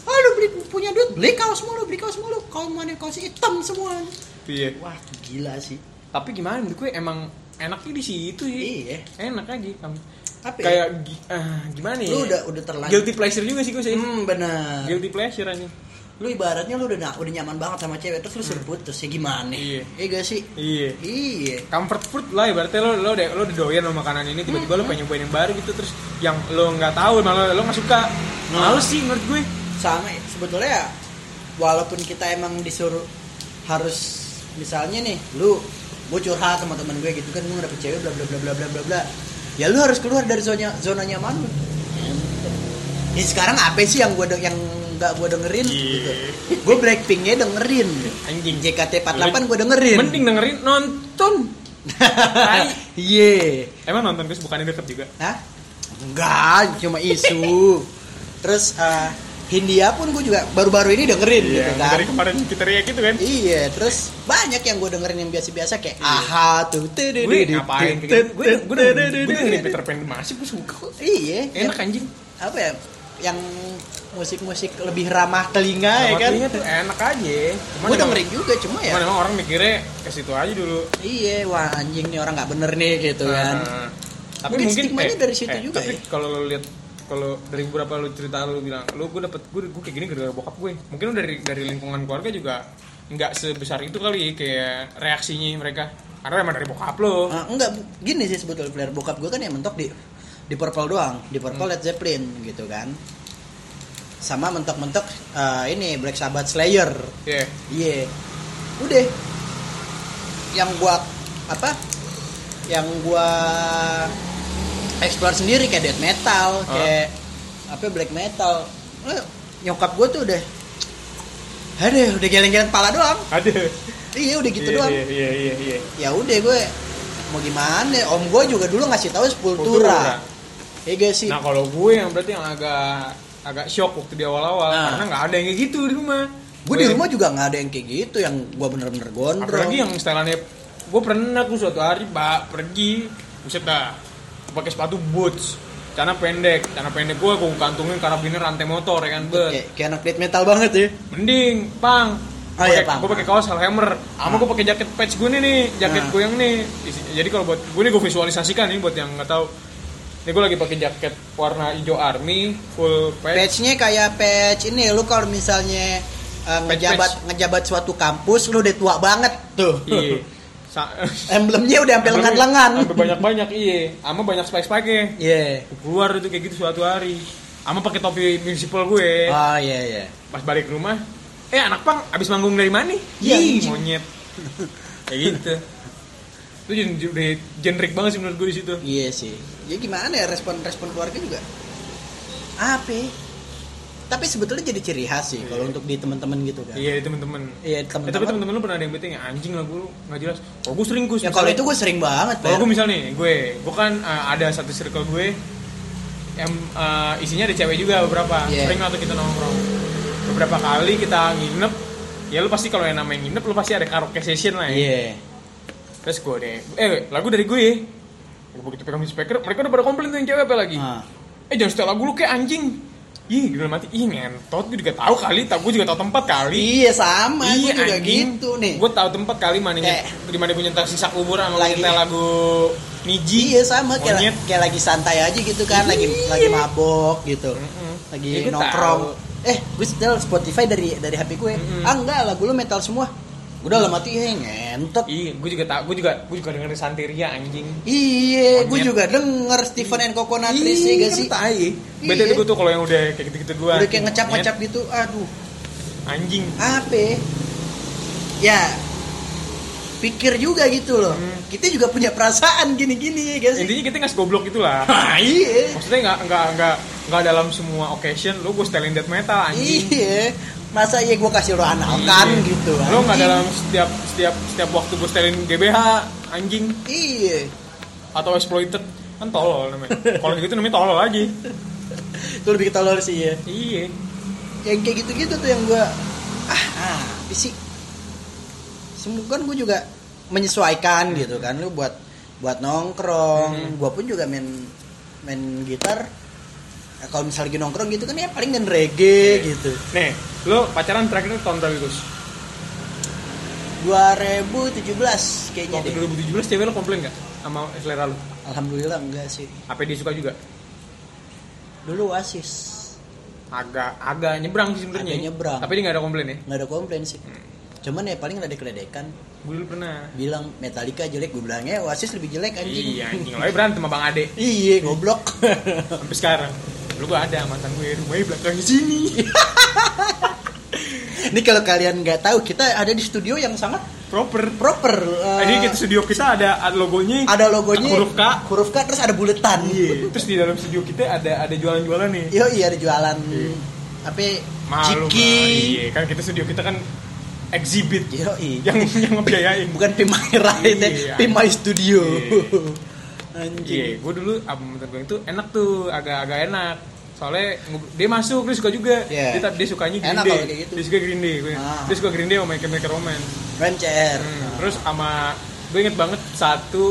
Speaker 1: ah lu beli punya duit beli kaos mulu, beli kaos mulu, kaos mana kaos hitam semua.
Speaker 2: Iya.
Speaker 1: Wah gila sih.
Speaker 2: Tapi gimana menurut gue emang enaknya di situ sih.
Speaker 1: Iya.
Speaker 2: Enak aja. Kamu.
Speaker 1: Tapi
Speaker 2: Kayak gi- ah, gimana ya?
Speaker 1: lu udah udah terlanjur.
Speaker 2: guilty pleasure juga sih gue sih.
Speaker 1: Hmm bener.
Speaker 2: Guilty pleasure aja.
Speaker 1: Lu ibaratnya lu udah na- udah nyaman banget sama cewek terus lu suruh putus ya gimana?
Speaker 2: Hmm. Iya.
Speaker 1: Iya gak sih?
Speaker 2: Iya.
Speaker 1: Iya.
Speaker 2: comfort food lah ibaratnya lo lo udah lo udah doyan sama makanan ini tiba-tiba lo
Speaker 1: Hmm.
Speaker 2: pengen nyobain yang baru gitu terus yang lo nggak tahu malah lo nggak suka
Speaker 1: Nah.
Speaker 2: males sih menurut gue
Speaker 1: sama ya, sebetulnya ya, walaupun kita emang disuruh harus misalnya nih lu gue curhat sama teman gue gitu kan gue dapet cewek bla bla bla bla bla bla bla ya lu harus keluar dari zona zona nyaman lu ya sekarang apa sih yang gue yang nggak gue dengerin
Speaker 2: Iya.
Speaker 1: gitu gue Blackpinknya dengerin
Speaker 2: Anjing.
Speaker 1: JKT48 gue dengerin
Speaker 2: mending dengerin nonton Tai.
Speaker 1: Iya.
Speaker 2: emang nonton guys bukannya deket juga
Speaker 1: Hah? Enggak, cuma isu. Terus eh, Hindia pun gue juga baru-baru ini dengerin gitu
Speaker 2: iya
Speaker 1: kan.
Speaker 2: dari kemarin kita riak gitu kan
Speaker 1: Iya, terus banyak yang gue dengerin yang biasa-biasa kayak aha tuh.
Speaker 2: Iya. gue ngapain kayak gitu gue gue dengerin gue dengerin Peter Pan masih gue suka kok.
Speaker 1: Iya,
Speaker 2: enak anjing
Speaker 1: Apa ya? Yang musik-musik lebih ramah telinga ya
Speaker 2: Sama
Speaker 1: kan.
Speaker 2: telinga tuh eh, enak aja cuman
Speaker 1: Gue
Speaker 2: emang-
Speaker 1: dengerin juga cuma
Speaker 2: cuman
Speaker 1: ya.
Speaker 2: emang orang mikirnya ke situ aja dulu
Speaker 1: Iya, wah anjing nih orang nggak bener nih gitu kan.
Speaker 2: Nah, tapi
Speaker 1: Mungkin
Speaker 2: mungkin, eh,
Speaker 1: stigmanya dari situ juga
Speaker 2: tapi
Speaker 1: ya.
Speaker 2: kalau lo lihat kalau dari beberapa lu cerita lu bilang lu gue dapet gue gue kayak gini gara-gara bokap gue mungkin lu dari dari lingkungan keluarga juga nggak sebesar itu kali ya, kayak reaksinya mereka karena emang dari bokap lo
Speaker 1: Eh, enggak bu- gini sih sebetulnya player bokap gue kan yang mentok di di Purple doang, di Purple Led Zeppelin gitu kan. Sama mentok-mentok eh, ini Black Sabbath Slayer.
Speaker 2: ya
Speaker 1: Iya. Udah. Yang gua apa? Yang gua explore sendiri kayak death metal,
Speaker 2: Ah.
Speaker 1: kayak apa black metal. Eh, nyokap gua tuh udah Aduh, udah geleng-geleng kepala doang.
Speaker 2: ada
Speaker 1: Iya, udah gitu
Speaker 2: iya,
Speaker 1: doang.
Speaker 2: iya iya iya iya
Speaker 1: Ya udah gue mau gimana? Om gue juga dulu ngasih tahu Sepultura. Iya gak sih?
Speaker 2: nah kalau gue yang berarti yang agak agak shock waktu di awal-awal
Speaker 1: Nah.
Speaker 2: karena nggak ada yang kayak gitu di rumah
Speaker 1: gue di rumah juga nggak ada yang kayak gitu yang gua bener-bener gondrong.
Speaker 2: apalagi yang setelannya gue pernah tuh suatu hari pak pergi buset dah pakai sepatu boots karena pendek karena pendek gue gue kantungin karabiner rantai motor ya kan bet
Speaker 1: kayak, kayak anak death metal banget ya.
Speaker 2: mending pang
Speaker 1: Oh, iya, Pang. Ah.
Speaker 2: gue pakai kaos Hellhammer sama gue pakai jaket patch gue nih nih jaket
Speaker 1: Nah.
Speaker 2: gue yang nih Isi- jadi kalau buat gue nih gue visualisasikan nih buat yang nggak tahu ini gue lagi pakai jaket warna hijau army full patch,
Speaker 1: Patch-nya kayak patch ini lu kalau misalnya eh, ngejabat
Speaker 2: patch.
Speaker 1: ngejabat suatu kampus lu udah tua banget tuh.
Speaker 2: iya Sa-
Speaker 1: Emblemnya udah sampai lengan-lengan.
Speaker 2: Sampai banyak-banyak iya sama banyak spike-spike
Speaker 1: Iya.
Speaker 2: keluar itu kayak gitu suatu hari ama pakai topi municipal gue
Speaker 1: Oh iya iya.
Speaker 2: pas balik ke rumah eh anak pang abis manggung dari mana
Speaker 1: Iya,
Speaker 2: Ih,
Speaker 1: anjing.
Speaker 2: monyet kayak gitu itu gen- udah generik banget sih menurut gue di situ
Speaker 1: Iya sih. Ya gimana ya respon-respon keluarga juga? Apa? Tapi sebetulnya jadi ciri khas sih kalau untuk di teman-teman gitu kan.
Speaker 2: iya temen-temen Eh,
Speaker 1: Iya,
Speaker 2: tapi
Speaker 1: teman-teman.
Speaker 2: temen-temen lu pernah ada yang bete nggak? anjing lah gue nggak jelas oh gue sering gue
Speaker 1: Ya kalau itu gue sering banget,
Speaker 2: kalau
Speaker 1: Fer.
Speaker 2: gue misal nih gue gue kan eh, ada satu circle gue yang eh, isinya ada cewek juga beberapa
Speaker 1: Iya.
Speaker 2: sering waktu kita nongkrong beberapa kali kita nginep ya lu pasti kalau yang namanya nginep lu pasti ada karaoke session lah ya
Speaker 1: Iya.
Speaker 2: Terus gue deh, eh lagu dari gue ya. Gue begitu pegang speaker, mereka udah pada komplain tuh yang cewek apa lagi.
Speaker 1: Ah.
Speaker 2: Eh jangan setel lagu lu kayak anjing. Ih, gila mati. Ih, ngentot. Gue juga tahu kali, tau gue juga tahu tempat kali.
Speaker 1: Iya sama, gue juga gitu nih.
Speaker 2: Gue tahu tempat kali mana
Speaker 1: Kayak-
Speaker 2: di mana punya tas sisa kuburan sama
Speaker 1: Lagi-
Speaker 2: nyetel lagu Niji.
Speaker 1: Iya sama kayak,
Speaker 2: Monyet. Iya.
Speaker 1: kayak lagi santai aja gitu kan, lagi lagi mabok gitu.
Speaker 2: Mm-mm.
Speaker 1: Lagi
Speaker 2: Ya, gue
Speaker 1: nongkrong.
Speaker 2: tahu.
Speaker 1: Eh, gue setel Spotify dari dari HP gue.
Speaker 2: Mm-mm.
Speaker 1: Ah enggak, lagu lu metal semua. Udah lah mati eh ngentot.
Speaker 2: Iya, gue juga tahu. Gue juga gue juga dengerin Santeria anjing.
Speaker 1: Iya, gue
Speaker 2: Monyet. Iya,
Speaker 1: juga denger Steven and Coconatrice ya gak sih?
Speaker 2: kan tai. Beda
Speaker 1: Iya.
Speaker 2: tuh gue tuh kalau yang udah kayak gitu-gitu gue.
Speaker 1: Udah kayak ngecap-ngecap gitu. Aduh,
Speaker 2: Anjing.
Speaker 1: apa? Ya, pikir juga gitu loh.
Speaker 2: Hmm.
Speaker 1: Kita juga punya perasaan gini-gini ya gak sih?
Speaker 2: Intinya kita nggak segoblok gitu lah.
Speaker 1: Ah, Iya.
Speaker 2: maksudnya nggak nggak nggak nggak dalam semua occasion lu gue setelin death metal anjing
Speaker 1: Iya. Masa iya gue kasih lo analkan
Speaker 2: Iya.
Speaker 1: gitu.
Speaker 2: lu nggak
Speaker 1: anjing.
Speaker 2: dalam setiap setiap setiap waktu gue setelin GBH anjing
Speaker 1: Iya.
Speaker 2: atau exploited kan tolol namanya kalau gitu namanya tolol aja
Speaker 1: Itu lebih ketolol sih ya.
Speaker 2: iya
Speaker 1: Yang kayak gitu-gitu tuh yang gua ah, ah
Speaker 2: Hmm.
Speaker 1: apa sih? Semoga gue juga menyesuaikan gitu kan lu buat buat nongkrong gua pun juga main main gitar Ya, kalau misalnya lagi nongkrong gitu kan ya paling kan reggae
Speaker 2: Iya.
Speaker 1: gitu
Speaker 2: Nih, lo pacaran terakhir itu tahun berapa gitu? Gus?
Speaker 1: 2017 kayaknya
Speaker 2: Waktu
Speaker 1: deh
Speaker 2: 2017 cewek lo komplain nggak sama selera lo?
Speaker 1: alhamdulillah enggak sih
Speaker 2: Apa dia suka juga?
Speaker 1: dulu Oasis
Speaker 2: Agak agak nyebrang sih sebenarnya.
Speaker 1: Agak nyebrang.
Speaker 2: Tapi dia nggak ada komplain ya.
Speaker 1: nggak ada komplain sih cuman ya paling ada keledekan
Speaker 2: Gue dulu pernah.
Speaker 1: bilang Metallica jelek gue bilangnya Oasis lebih jelek anjing
Speaker 2: Iya, anjing lo berantem sama Bang Ade
Speaker 1: Iya, goblok.
Speaker 2: sampai sekarang. Lu gue ada mantan gue rumahnya belakang sini.
Speaker 1: Ini kalau kalian nggak tahu, kita ada di studio yang sangat
Speaker 2: Proper.
Speaker 1: proper. eh,
Speaker 2: Jadi kita studio kita ada ada logonya.
Speaker 1: ada logonya
Speaker 2: huruf K.
Speaker 1: huruf K terus ada buletan.
Speaker 2: Iya. Terus di dalam studio kita ada ada jualan-jualan nih.
Speaker 1: Yo, iya ada jualan apa
Speaker 2: Malu Bang.
Speaker 1: Jiki.
Speaker 2: Iya, kan kita studio kita kan exhibit
Speaker 1: Yo, iya.
Speaker 2: yang yang ngebiayain.
Speaker 1: Bukan Pimai Ride,
Speaker 2: Iya.
Speaker 1: ya. Pimai Studio. Anjing.
Speaker 2: Iya, gue dulu album mantan gue itu enak tuh, agak-agak enak. Soalnya ngu- dia masuk, dia suka juga.
Speaker 1: Iya.
Speaker 2: Dia, tapi dia sukanya Green
Speaker 1: Enak
Speaker 2: Day.
Speaker 1: kalau kayak gitu.
Speaker 2: Dia suka Green Day. Gue.
Speaker 1: Ah.
Speaker 2: Dia suka Green Day sama Michael Michael Romance.
Speaker 1: Ren CR.
Speaker 2: Hmm, Terus sama gue inget banget satu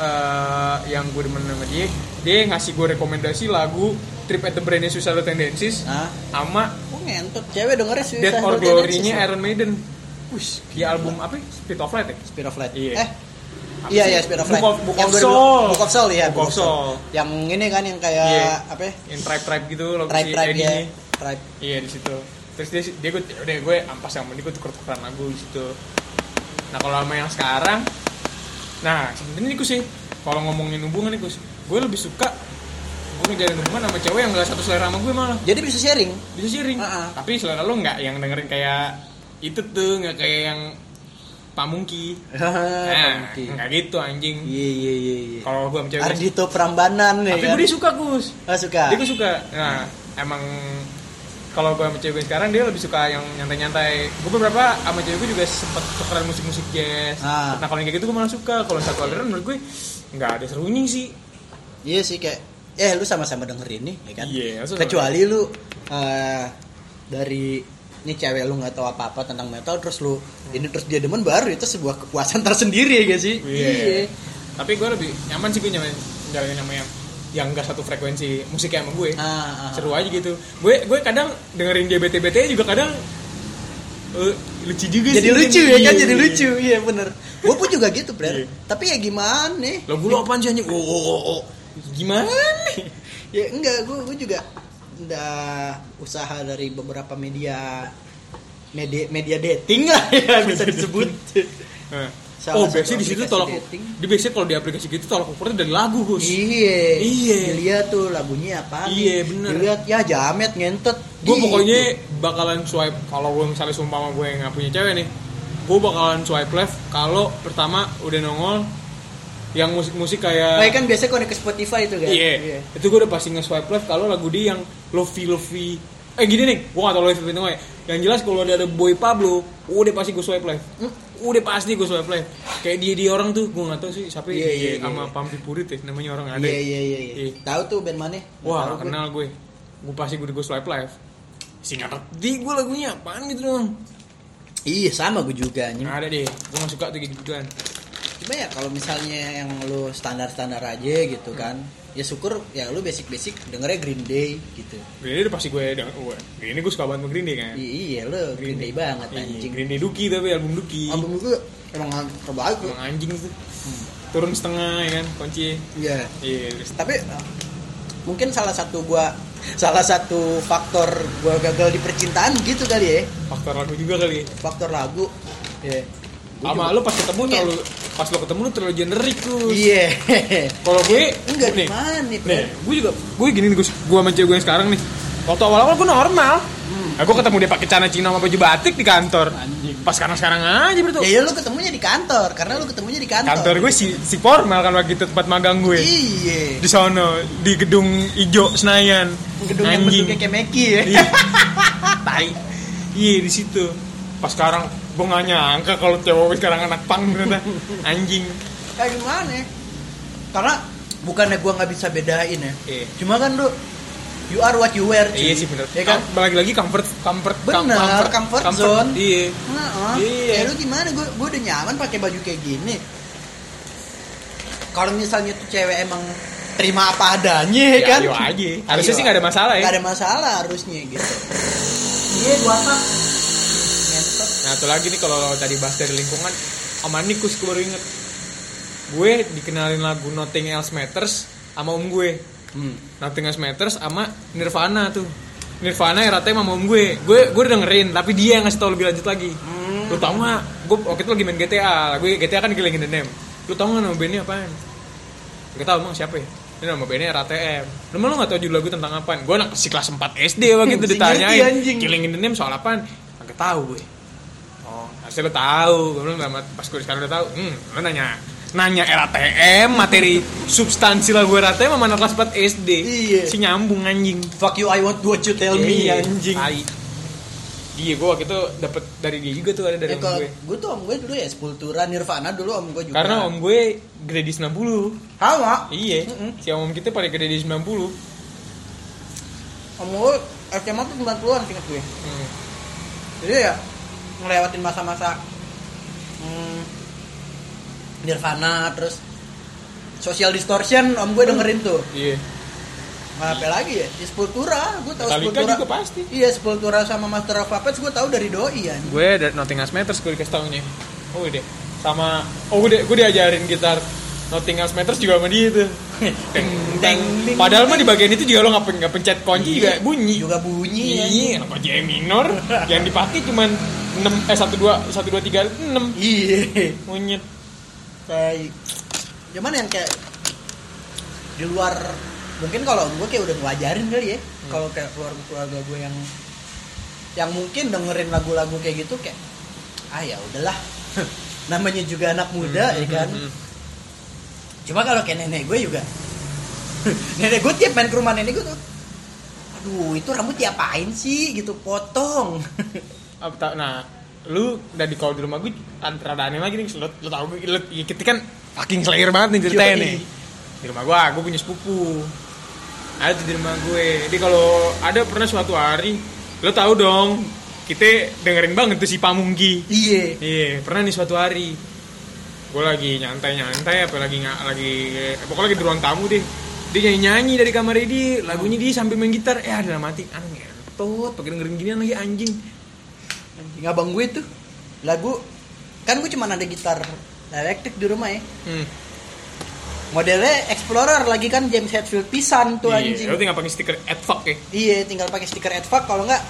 Speaker 2: eh, yang gue demen sama dia, dia ngasih gue rekomendasi lagu Trip at the Brainnya Suicidal Tendencies
Speaker 1: Nah,
Speaker 2: sama
Speaker 1: kok ngentot cewek dengernya sih.
Speaker 2: Death or Glory-nya Iron Maiden. Wih, di album apa? ya? Speed of Light ya?
Speaker 1: Speed of Light.
Speaker 2: Iya.
Speaker 1: Eh, iya iya Speed of Light.
Speaker 2: Book of- Book
Speaker 1: Yang
Speaker 2: of
Speaker 1: 2000
Speaker 2: Soul.
Speaker 1: Book of Soul ya.
Speaker 2: Book of Soul.
Speaker 1: Yang ini kan yang kayak
Speaker 2: Iya.
Speaker 1: apa? ya?
Speaker 2: Yang tribe-tribe gitu lagu
Speaker 1: Tribe
Speaker 2: si
Speaker 1: Tribe
Speaker 2: Eddie
Speaker 1: ya.
Speaker 2: ini.
Speaker 1: Tribe.
Speaker 2: Iya di situ. Terus dia dia gue udah gue ampas sama dia gue tuker tukeran lagu di situ. Nah kalau sama yang sekarang, nah sebenarnya gue sih kalau ngomongin hubungan nih Gus, gue lebih suka gue ngejalin hubungan sama cewek yang gak satu selera sama gue malah
Speaker 1: Jadi bisa sharing.
Speaker 2: bisa sharing.
Speaker 1: Ah, ah.
Speaker 2: Tapi selera lo nggak yang dengerin kayak itu tuh nggak kayak yang pamungki. Nah,
Speaker 1: Pamungki.
Speaker 2: nggak gitu anjing.
Speaker 1: Eh, Iya iya iya iya.
Speaker 2: Kalau gue sama cewek,
Speaker 1: Ardito Prambanan ya
Speaker 2: tapi
Speaker 1: kan.
Speaker 2: gue dia suka Gus.
Speaker 1: Ah, suka.
Speaker 2: Dia gue suka. Nah, emang kalau gue sama cewek gue sekarang dia lebih suka yang nyantai-nyantai. Gue beberapa sama cewek gue juga sempet tukeran musik-musik jazz.
Speaker 1: Ah.
Speaker 2: Nah, kalau yang kayak gitu gue malah suka. Kalau satu aliran menurut gue nggak ada serunya sih.
Speaker 1: Iya sih kayak eh lu sama-sama dengerin nih ya kan.
Speaker 2: Iya, sama-sama.
Speaker 1: Kecuali lu eh, dari ini cewek lu nggak tahu apa-apa tentang metal terus lu ini terus dia demen baru itu sebuah kepuasan tersendiri ya gak sih?
Speaker 2: Iya. Tapi gue lebih nyaman sih gue nyaman jalanin sama yang yang enggak satu frekuensi musiknya sama gue.
Speaker 1: Ah, ah.
Speaker 2: Seru aja gitu. Gue gue kadang dengerin dia BT-BT juga kadang eh, lucu juga
Speaker 1: jadi
Speaker 2: sih.
Speaker 1: lucu ya kan
Speaker 2: Iya,
Speaker 1: jadi
Speaker 2: iya.
Speaker 1: lucu iya bener gue pun juga gitu player
Speaker 2: Iya.
Speaker 1: tapi ya gimana nih
Speaker 2: Lagu lo apaan sih anjing? Oh, oh, oh, oh. Gimana?
Speaker 1: ya enggak gue gue juga udah usaha dari beberapa media media media dating lah ya bisa disebut
Speaker 2: Nah.
Speaker 1: Salah
Speaker 2: Oh,
Speaker 1: satu
Speaker 2: biasanya di situ
Speaker 1: aplikasi
Speaker 2: tolak
Speaker 1: dating.
Speaker 2: di biasanya kalau di aplikasi gitu tolak ukurnya dari lagu, Gus.
Speaker 1: iya
Speaker 2: Iya.
Speaker 1: dilihat tuh lagunya apa
Speaker 2: Iya, bener.
Speaker 1: dilihat ya jamet ngentet
Speaker 2: Gue
Speaker 1: Gitu.
Speaker 2: pokoknya eh, bakalan swipe kalau gue misalnya sumpah sama gue yang gak punya cewek nih. Gue bakalan swipe left kalau pertama udah nongol yang musik-musik
Speaker 1: Nah,
Speaker 2: kayak
Speaker 1: kan biasanya kalau ke Spotify itu kan.
Speaker 2: Iya. Itu gue udah pasti nge-swipe left kalau lagu dia yang Lovey Lovey. Eh gini nih, gue gak tau Lovey Lovey ya. Yang jelas kalau ada, ada Boy Pablo, udah pasti gue swipe left.
Speaker 1: Hmm.
Speaker 2: Udah pasti gue swipe left. Kayak dia dia orang tuh, gue gak tau sih siapa
Speaker 1: Iya, iya,
Speaker 2: dia sama
Speaker 1: iya.
Speaker 2: Pampi Purit ya, namanya orang ada.
Speaker 1: Iya iya iya. iya.
Speaker 2: Iya.
Speaker 1: Tahu tuh band mana?
Speaker 2: Wah, gak
Speaker 1: Tahu gue.
Speaker 2: kenal gue. Gue pasti gue gue swipe left. Sih gak ngerti gue lagunya apaan gitu dong.
Speaker 1: Hmm. Iya sama gue juga. anjing.
Speaker 2: Nggak ada deh, gue gak suka tuh gitu kan.
Speaker 1: Cuma ya kalau misalnya yang lu standar-standar aja gitu kan. Ya syukur ya lu basic-basic dengernya Green Day gitu.
Speaker 2: Green Day udah pasti gue, gue Green Day gue suka banget sama Green Day kan.
Speaker 1: I- iya lu Green, Day Iya. banget
Speaker 2: Iya,
Speaker 1: anjing.
Speaker 2: Green Day Duki tapi album Duki.
Speaker 1: Album itu emang terbaik lu.
Speaker 2: Emang anjing tuh.
Speaker 1: Hmm.
Speaker 2: Turun setengah ya kan kunci.
Speaker 1: Iya.
Speaker 2: Iya, terus
Speaker 1: Tapi eh, mungkin salah satu gua salah satu faktor gua gagal di percintaan gitu kali ya.
Speaker 2: faktor lagu juga kali.
Speaker 1: Faktor lagu. Iya. Gua
Speaker 2: Sama
Speaker 1: juga-
Speaker 2: lu pas ketemu terlalu pas lu ketemu lu terlalu generik tuh.
Speaker 1: Iya.
Speaker 2: Kalau gue
Speaker 1: Enggak
Speaker 2: nih.
Speaker 1: gimana nih,
Speaker 2: Nih, gue juga gue gini nih, gue gue sama cewek gue yang sekarang nih. Waktu awal-awal gue normal. Nah, gue ketemu dia pakai celana Cina sama baju batik di kantor.
Speaker 1: Hmm. Anjing.
Speaker 2: Pas sekarang-sekarang aja berarti.
Speaker 1: Ya ya lu ketemunya di kantor karena lu ketemunya di kantor.
Speaker 2: kantor gue si, si formal kan waktu itu tempat magang gue.
Speaker 1: Iya.
Speaker 2: Di sono di gedung ijo Senayan.
Speaker 1: Gedung yang bentuknya kayak Meki ya.
Speaker 2: Iya. tai iya di situ pas sekarang gue nggak nyangka kalau cewek sekarang anak pang ternyata anjing
Speaker 1: kayak gimana ya? karena bukannya gua nggak bisa bedain ya
Speaker 2: Iya.
Speaker 1: cuma kan lu you are what you wear cuy.
Speaker 2: iya sih bener
Speaker 1: ya kan
Speaker 2: balik lagi comfort comfort
Speaker 1: Bener, comfort zone.
Speaker 2: iya
Speaker 1: Nah,
Speaker 2: Iya.
Speaker 1: ya lu gimana gue gue udah nyaman pakai baju kayak gini kalau misalnya tuh cewek emang terima apa adanya ya
Speaker 2: Ya,
Speaker 1: kan
Speaker 2: ayo aja. Harusnya
Speaker 1: Ayo.
Speaker 2: sih nggak ada masalah ya.
Speaker 1: nggak ada masalah harusnya gitu iya gua tak ngentot
Speaker 2: Nah, satu lagi nih kalau tadi bahas dari lingkungan, sama Nikus gue baru inget. Gue dikenalin lagu Nothing Else Matters sama om gue.
Speaker 1: hmm.
Speaker 2: Nothing Else Matters sama Nirvana tuh. Nirvana ya ratanya sama om gue. Gue gue udah dengerin, tapi dia yang ngasih tau lebih lanjut lagi.
Speaker 1: Hmm.
Speaker 2: Lu tau gak? Gue waktu itu lagi main GTA. Lagu GTA kan Killing in the Name. Lu tau gak nama bandnya apaan? Gak tau emang siapa ya? Ini nama bandnya RATM. Lu mah lu gak tau judul lagu tentang apaan? Gue anak si kelas 4 SD waktu itu
Speaker 1: Masih ngerti,
Speaker 2: ditanyain.
Speaker 1: anjing.
Speaker 2: Killing in the Name soal apaan? Gak tau gue. Oh, harusnya lu tahu. Gue bilang sama- pas gue sekarang udah tahu. Hmm, lu nanya nanya RATM materi substansi lagu RATM sama anak kelas 4 SD.
Speaker 1: Iya.
Speaker 2: Si nyambung anjing.
Speaker 1: fuck you I want what you tell me
Speaker 2: Iya,
Speaker 1: anjing
Speaker 2: tai. Dia gue waktu itu dapet dari dia juga tuh ada dari
Speaker 1: Ya,
Speaker 2: om
Speaker 1: kalau
Speaker 2: gue.
Speaker 1: gue tuh om gue dulu ya Sepultura Nirvana dulu om gue juga
Speaker 2: Karena om gue gede di 90.
Speaker 1: sama
Speaker 2: Iya,
Speaker 1: Mm-mm.
Speaker 2: si om kita paling gede di 90.
Speaker 1: om gue SMA tuh 90-an inget gue
Speaker 2: Hmm.
Speaker 1: jadi ya ngelewatin masa-masa hmm, Nirvana terus Social Distortion om gue dengerin tuh
Speaker 2: Iya.
Speaker 1: Nah, apa lagi ya? Ya, Sepultura, gue tahu
Speaker 2: Metallica
Speaker 1: Sepultura.
Speaker 2: juga pasti.
Speaker 1: Iya, Sepultura sama Master of Puppets gue tahu dari doi ya.
Speaker 2: Gue dari Nothing Else Matters gue dikasih taunya. Oh, deh. Sama oh gue, di- gue diajarin gitar Nothing Else Matters juga sama dia tuh. Teng, teng. Padahal mah di bagian itu juga lo nggak pen- nggak pencet kunci juga bunyi.
Speaker 1: Iya. Juga bunyi ya.
Speaker 2: Iya, apa G minor yang dipakai cuman 6 eh 1 2 1 2 3 6
Speaker 1: Iya.
Speaker 2: monyet.
Speaker 1: Kayak cuman yang kayak di luar mungkin kalau gue kayak udah ngajarin kali ya. Kalau kayak keluarga keluarga gue yang yang mungkin dengerin lagu-lagu kayak gitu kayak ah ya udahlah. Namanya juga anak
Speaker 2: Hmm.
Speaker 1: muda ya kan.
Speaker 2: Mm-hmm.
Speaker 1: Cuma kalau kayak nenek gue juga Nenek gue tiap main ke rumah nenek gue tuh Aduh itu rambut diapain sih gitu Potong
Speaker 2: Apa tau- nah lu dari kalau di rumah gue antara ada aneh lagi nih lu, lu tau gue lu, ya kita kan fucking slayer banget nih ceritanya
Speaker 1: Yoi.
Speaker 2: nih di rumah gue gue punya sepupu ada tuh di rumah gue jadi kalau ada pernah suatu hari lu tahu dong kita dengerin banget tuh si Pamungki
Speaker 1: Iya
Speaker 2: Iya, pernah nih suatu hari gue lagi nyantai-nyantai apa lagi nggak lagi eh, pokoknya lagi di ruang tamu deh dia nyanyi nyanyi dari kamar dia lagunya dia sambil main gitar eh ada mati aneh ngentot pakai dengerin ginian lagi anjing
Speaker 1: Anjing, Abang gue tuh Lagu Kan gue cuma ada gitar elektrik di rumah ya
Speaker 2: hmm.
Speaker 1: Modelnya Explorer lagi kan James Hetfield pisan tuh anjing
Speaker 2: Iya, lu tinggal pakai stiker at fuck ya.
Speaker 1: Iya tinggal pakai stiker adfuck kalau nggak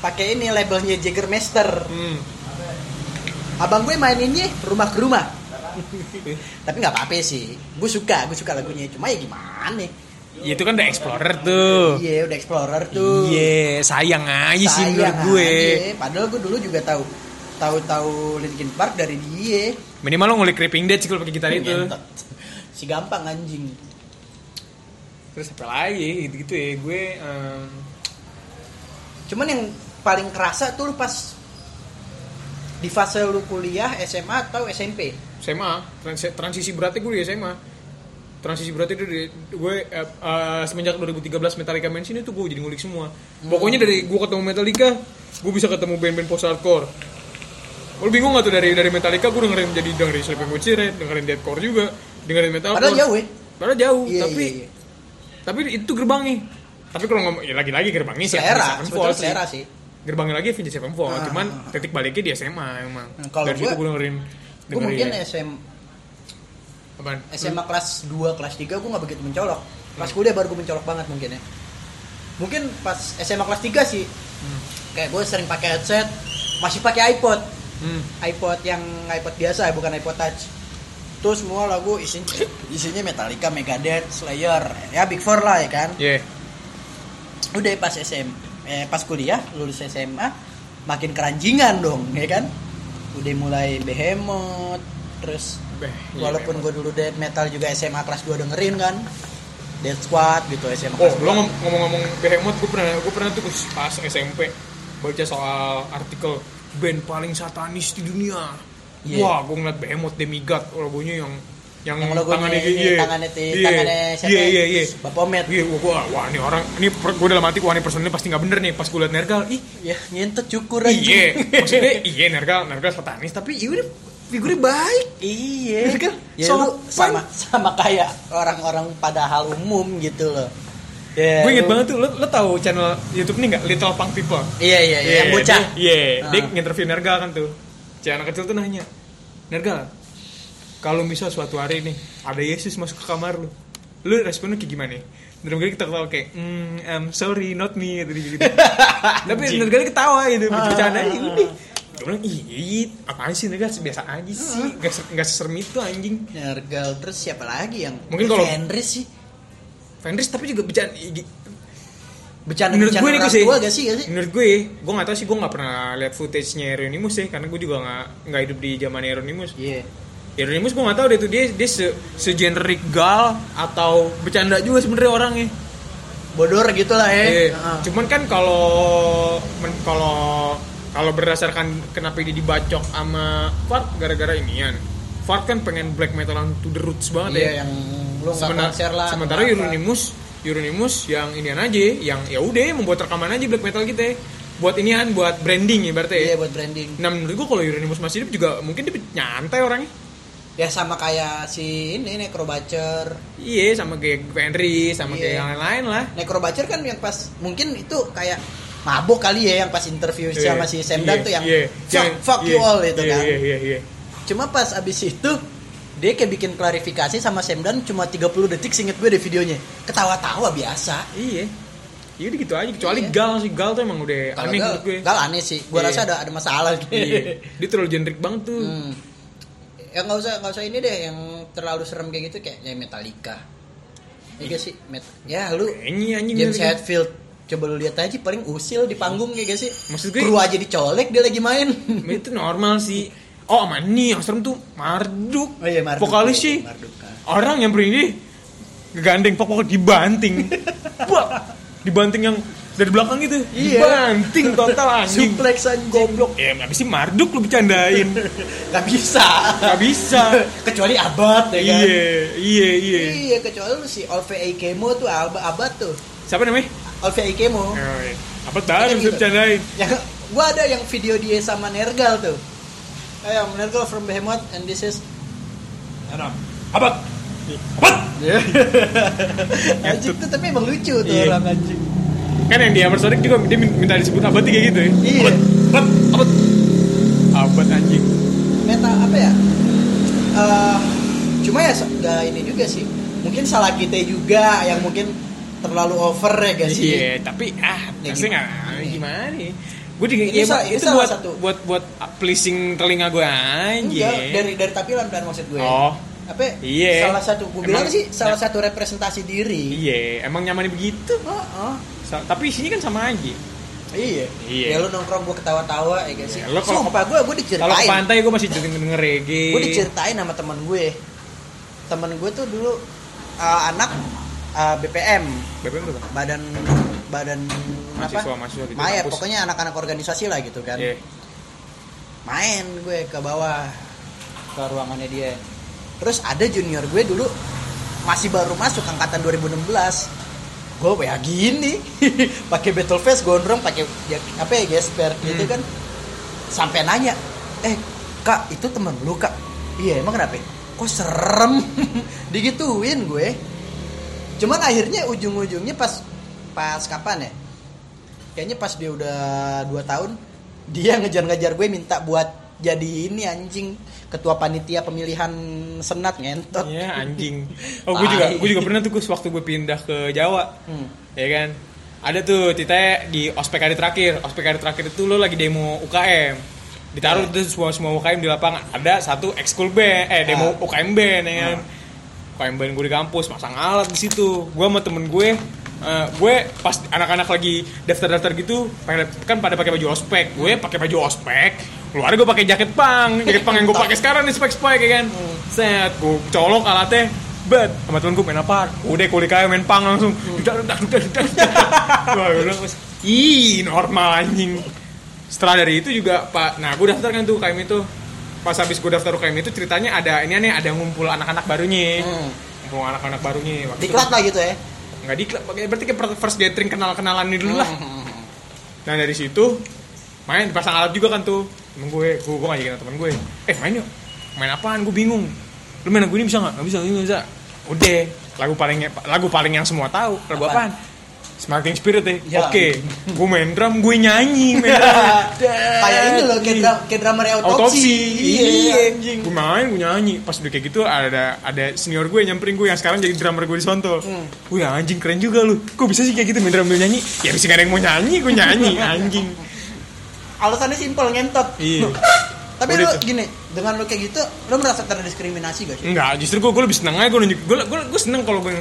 Speaker 1: pakai ini labelnya Jagger Master
Speaker 2: Hmm.
Speaker 1: Abang gue maininnya rumah ke rumah Tapi nggak apa-apa sih Gue suka, gue suka lagunya Cuma ya gimana nih
Speaker 2: Ya, itu kan udah explorer tuh.
Speaker 1: Iya, udah explorer tuh.
Speaker 2: Iya, sayang aja sih
Speaker 1: Sayang
Speaker 2: menurut gue.
Speaker 1: aja. Padahal gue dulu juga tahu tahu-tahu Linkin Park dari dia.
Speaker 2: Minimal lo ngulik Creeping Dead sih kalau pakai gitar itu.
Speaker 1: Ngentot. Si gampang anjing.
Speaker 2: Terus apa lagi gitu-gitu ya gue eh, em,
Speaker 1: Cuman yang paling kerasa tuh lu pas di fase lu kuliah SMA atau SMP.
Speaker 2: SMA Trans- transisi beratnya gue di SMA transisi beratnya itu di- gue eh, eh, semenjak 2013 Metallica main sini tuh gue jadi ngulik semua
Speaker 1: Hmm.
Speaker 2: pokoknya dari gue ketemu Metallica gue bisa ketemu band-band post hardcore lo bingung gak tuh dari dari Metallica gue dengerin jadi dengerin Sleeping With Siren dengerin deathcore juga dengerin metalcore
Speaker 1: Padahal jauh ya.
Speaker 2: padahal jauh
Speaker 1: Iya,
Speaker 2: Uh, tapi
Speaker 1: iya, iya.
Speaker 2: tapi itu gerbangnya tapi kalau ngomong ya lagi-lagi gerbangnya sih
Speaker 1: selera,
Speaker 2: Avenged
Speaker 1: sebetulnya
Speaker 2: Sevenfold sih.
Speaker 1: selera sih.
Speaker 2: gerbangnya lagi Avenged Sevenfold
Speaker 1: Ah,
Speaker 2: cuman
Speaker 1: ah, ah.
Speaker 2: titik baliknya di SMA emang
Speaker 1: Nah, kalau
Speaker 2: dari
Speaker 1: gue-
Speaker 2: situ gue dengerin
Speaker 1: Gue mungkin
Speaker 2: dengerin- ya. Hmm.
Speaker 1: SM,
Speaker 2: apaan?
Speaker 1: SMA kelas 2, kelas 3 gue nggak begitu mencolok.
Speaker 2: Hmm.
Speaker 1: Kelas kuliah baru gue mencolok banget mungkin ya. Mungkin pas SMA kelas 3 sih. Kayak gue sering pakai headset, masih pakai iPod.
Speaker 2: Hmm.
Speaker 1: iPod yang iPod biasa ya, bukan iPod Touch. Terus semua lagu isinya isinya Metallica, Megadeth, Slayer, ya Big Four lah ya kan.
Speaker 2: Yeah.
Speaker 1: Udah ya, pas SM, eh, pas kuliah lulus SMA makin keranjingan dong ya kan. Udah mulai Behemoth, terus
Speaker 2: Beh, iya,
Speaker 1: walaupun
Speaker 2: memang.
Speaker 1: gue dulu death metal juga SMA kelas 2 dengerin kan. Death Squad gitu SMA
Speaker 2: Oh,
Speaker 1: kelas
Speaker 2: lo
Speaker 1: 2.
Speaker 2: ngom- ngomong-ngomong Behemoth, gue pernah gue pernah tuh pas SMP baca soal artikel band paling satanis di dunia.
Speaker 1: Iya.
Speaker 2: Wah, gue ngeliat Behemoth Demigod logonya yang yang,
Speaker 1: Yang logonya ini,
Speaker 2: iya.
Speaker 1: tangannya ti-
Speaker 2: Iya.
Speaker 1: tangannya siapa?
Speaker 2: Iya, iya, iya.
Speaker 1: Bapak Met.
Speaker 2: Iya, gua, gua, wah, ini orang ini gue dalam hati wah ini personilnya pasti nggak bener nih pas gue liat Nergal. Ih,
Speaker 1: Ya, nyentet cukur aja.
Speaker 2: iya. Maksudnya iya Nergal, Nergal satanis tapi iya udah figurnya baik.
Speaker 1: Iya
Speaker 3: Kan
Speaker 1: ya,
Speaker 3: sopan.
Speaker 1: lu sama sama kayak orang-orang pada hal umum gitu loh. Ya,
Speaker 2: gue inget
Speaker 1: lu-
Speaker 2: banget tuh lo lo tahu channel YouTube ini nggak Little Punk People
Speaker 1: Iya iya iya,
Speaker 2: Iya,
Speaker 1: yang bocah.
Speaker 2: dia- Iya, dia
Speaker 1: Ah.
Speaker 2: nginterview Nergal kan tuh. Si anak kecil tuh nanya, Nergal, kalau misal suatu hari nih ada Yesus masuk ke kamar lu, lu responnya kayak gimana? Dalam kali kita ketawa kayak, mm, I'm sorry, not me, gitu, gitu. Tapi Nergal ketawa gitu, bercanda aja udah. Gue bilang, ih, iya, apaan sih Nergal, biasa aja sih, gak, ser- gak seserem itu anjing.
Speaker 1: Nergal terus siapa lagi yang
Speaker 2: Mungkin kalau-
Speaker 1: Fenris sih
Speaker 2: Fenris tapi juga bercanda,
Speaker 1: bercanda
Speaker 2: menurut gue
Speaker 1: bercanda
Speaker 2: nih
Speaker 1: orang
Speaker 2: sih
Speaker 1: tua gak sih gak sih?
Speaker 2: menurut gue gue nggak tahu sih gue nggak pernah lihat footage nya Eronimus sih karena gue juga nggak nggak hidup di zaman Eronimus
Speaker 1: Iya.
Speaker 2: Eronimus gue nggak tahu deh tuh dia dia se, segenerik gal atau bercanda juga sebenarnya orangnya
Speaker 1: Bodor gitu lah ya.
Speaker 2: Eh,
Speaker 1: Heeh.
Speaker 2: cuman kan kalau men- kalau kalau berdasarkan kenapa dia dibacok sama Fart gara-gara inian Fart kan pengen black metalan to the roots banget
Speaker 1: Iya
Speaker 2: ya
Speaker 1: yang lu nggak
Speaker 2: Sebenar-
Speaker 1: konser lah.
Speaker 2: Sementara
Speaker 1: atau apa.
Speaker 2: Euronymous, Euronymous yang inian aja, yang ya udah membuat rekaman aja black metal kita. Buat inian, buat branding ya berarti.
Speaker 1: Iya
Speaker 2: ya.
Speaker 1: buat branding.
Speaker 2: Nah menurut gua kalau Euronymous masih hidup juga mungkin dia nyantai orangnya.
Speaker 1: Ya sama kayak si ini Necrobacer.
Speaker 2: Iya, sama kayak Henry, sama
Speaker 1: Iya.
Speaker 2: kayak yang lain-lain lah.
Speaker 1: Necrobacer kan yang pas mungkin itu kayak mabok kali ya yang pas interview sama si Sam
Speaker 2: Iya,
Speaker 1: Dan tuh yang
Speaker 2: iya,
Speaker 1: fuck,
Speaker 2: yang-
Speaker 1: fuck you
Speaker 2: iya,
Speaker 1: all itu
Speaker 2: iya,
Speaker 1: kan.
Speaker 2: Iya, iya, iya.
Speaker 1: Cuma pas abis itu dia kayak bikin klarifikasi sama Sam Dan cuma 30 detik singet gue deh videonya. Ketawa-tawa biasa.
Speaker 2: Iya. Iya udah gitu aja kecuali
Speaker 1: Iya.
Speaker 2: Gal sih Gal tuh emang udah
Speaker 1: Kalau
Speaker 2: aneh
Speaker 1: gal,
Speaker 2: menurut gue.
Speaker 1: gal aneh sih. Gue
Speaker 2: Iya.
Speaker 1: rasa ada ada masalah gitu.
Speaker 2: Iya. Dia terlalu generik banget tuh.
Speaker 1: Hmm. Ya nggak usah nggak usah ini deh yang terlalu serem kayak gitu kayak ya Metallica. Iya gak sih? Met- ya lu
Speaker 2: Kayaknya anjing
Speaker 1: James
Speaker 2: gitu.
Speaker 1: Hetfield coba lu lihat aja paling usil di panggung ya gak sih?
Speaker 2: Maksud gue-
Speaker 1: kru aja dicolek dia lagi main.
Speaker 2: Tapi itu normal sih. Oh, sama nih yang serem tuh Marduk.
Speaker 1: Oh iya Marduk.
Speaker 2: Vokalis sih.
Speaker 1: Marduk, kan.
Speaker 2: Orang yang berdiri ngegandeng pokok dibanting. Wah, dibanting yang dari belakang gitu.
Speaker 1: Iya.
Speaker 2: Dibanting total anjing.
Speaker 1: Suplex anjing. Goblok.
Speaker 2: Ya, habis sih Marduk lu bercandain.
Speaker 1: Gak bisa.
Speaker 2: Gak bisa.
Speaker 1: kecuali abad ya kan.
Speaker 2: iya, iya, iya.
Speaker 1: Iya, kecuali lu si Olve Ikemo tuh abad, abad tuh.
Speaker 2: Siapa namanya?
Speaker 1: Olve
Speaker 2: Oh,
Speaker 1: Ikemo.
Speaker 2: iya. Apa tahu
Speaker 1: Kayak
Speaker 2: bisa
Speaker 1: gitu.
Speaker 2: bercandain?
Speaker 1: Yang gua ada yang video dia sama Nergal tuh. Eh, I'm Nergal from Behemoth and this is Iya.
Speaker 2: Abad. Abad.
Speaker 1: anjing tuh tapi emang lucu tuh
Speaker 2: Iya.
Speaker 1: orang anjing.
Speaker 2: Kan yang di Amazonic juga dia minta disebut abad tuh kayak gitu ya.
Speaker 1: Iya.
Speaker 2: Abad, abad. Abad anjing.
Speaker 1: Meta apa ya? Eh, cuma ya se- nggak ini juga sih. Mungkin salah kita juga yang mungkin terlalu over ya guys sih.
Speaker 2: Iya, tapi ah,
Speaker 1: Ya,
Speaker 2: pasti nggak
Speaker 1: gimana?
Speaker 2: gimana nih? Gue juga
Speaker 1: Ini
Speaker 2: ya,
Speaker 1: salah- ini
Speaker 2: itu
Speaker 1: salah
Speaker 2: buat,
Speaker 1: satu.
Speaker 2: buat buat ah, pleasing telinga gue aja.
Speaker 1: Enggak, dari dari tampilan kan maksud gue.
Speaker 2: Iya. Oh,
Speaker 1: Apa? ya?
Speaker 2: Iya.
Speaker 1: Salah satu gue
Speaker 2: Emang- ya.
Speaker 1: bilang sih salah satu representasi diri.
Speaker 2: iya, emang nyaman begitu.
Speaker 1: Oh, oh.
Speaker 2: Sa- tapi isinya kan sama aja.
Speaker 1: Iya.
Speaker 2: Iya.
Speaker 1: Ya lu nongkrong gue ketawa-tawa ya guys sih.
Speaker 2: Iya, lu kalau-
Speaker 1: Sumpah gue gue
Speaker 2: Kalau ke
Speaker 1: diceritain.
Speaker 2: pantai gue masih denger, denger reggae.
Speaker 1: gue diceritain sama teman gue teman gue tuh dulu uh, anak uh, BPM
Speaker 2: BPM tuh kan?
Speaker 1: badan badan
Speaker 2: Mahasiswa-
Speaker 1: apa
Speaker 2: mahasiswa gitu,
Speaker 1: Maya,
Speaker 2: kampus.
Speaker 1: pokoknya anak-anak organisasi lah gitu kan
Speaker 2: Iya.
Speaker 1: main gue ke bawah ke ruangannya dia terus ada junior gue dulu masih baru masuk angkatan 2016 gue kayak gini pakai battle face gondrong pakai jak- apa ya gesper gitu
Speaker 2: Hmm.
Speaker 1: kan sampai nanya eh kak itu temen lu kak iya emang kenapa ya? kok serem digituin gue cuman akhirnya ujung-ujungnya pas pas kapan ya kayaknya pas dia udah 2 tahun dia ngejar-ngejar gue minta buat jadi ini anjing ketua panitia pemilihan senat ngentot
Speaker 2: Iya, anjing. Oh, gue juga
Speaker 1: Tai.
Speaker 2: gue juga pernah tuh Gus, waktu gue pindah ke Jawa.
Speaker 1: Hmm.
Speaker 2: Ya kan? Ada tuh ceritanya di ospek hari terakhir. Ospek hari terakhir itu lo lagi demo UKM. Ditaruh
Speaker 1: Iya.
Speaker 2: itu semua semua UKM di lapangan. Ada satu ekskul band, eh demo
Speaker 1: Ah.
Speaker 2: UKM band ya kan. UKM band gue di kampus, masang alat di situ. Gue sama temen gue eh, gue pas anak-anak lagi daftar-daftar gitu pada- kan pada pakai baju ospek gue pakai baju ospek keluar gue pakai jaket pang jaket pang yang gue pakai sekarang nih spek spek ya kan set gue colok alatnya bet sama temen gue main apa udah kulit kayak main pang langsung dudak dudak dudak dudak dudak. Wah, gue bilang, ih normal anjing setelah dari itu juga pak nah gue daftar kan tuh UKM itu pas habis gue daftar UKM itu ceritanya ada ini aneh ada ngumpul anak-anak barunya
Speaker 1: Hmm.
Speaker 2: ngumpul anak-anak barunya waktu itu
Speaker 1: diklat lah gitu ya
Speaker 2: nggak diklat pakai- berarti kayak first gathering kenal-kenalan ini
Speaker 1: Hmm.
Speaker 2: dulu lah Nah dari situ main dipasang alat juga kan tuh temen gue, gue gue ngajakin temen gue, eh main yuk, main apaan gue bingung lu main lagu ini bisa nggak nggak bisa nggak bisa udah lagu paling lagu paling yang semua tahu lagu apaan
Speaker 1: Apaan?
Speaker 2: Smarting Spirit
Speaker 1: Ya.
Speaker 2: ya. Oke, gue main drum, gue nyanyi, main drum.
Speaker 1: kayak ini loh kayak, dra kayak drama
Speaker 2: autopsi.
Speaker 1: autopsi
Speaker 2: Iya, anjing. Gue main, gue nyanyi. Pas udah kayak gitu ada ada senior gue nyamperin gue yang sekarang jadi drummer gue di Sonto. Wih anjing keren juga lu. Kok bisa sih kayak gitu main drum sambil nyanyi? Ya bisa gak ada yang mau nyanyi, gue nyanyi anjing.
Speaker 1: alasannya simpel ngentot
Speaker 2: Iya.
Speaker 1: tapi
Speaker 2: Udah
Speaker 1: lu
Speaker 2: tuh.
Speaker 1: gini dengan lu kayak gitu lu merasa terdiskriminasi gak sih
Speaker 2: Enggak, justru gue gue lebih seneng aja gue nunjuk. Gue gue, gue seneng kalau gue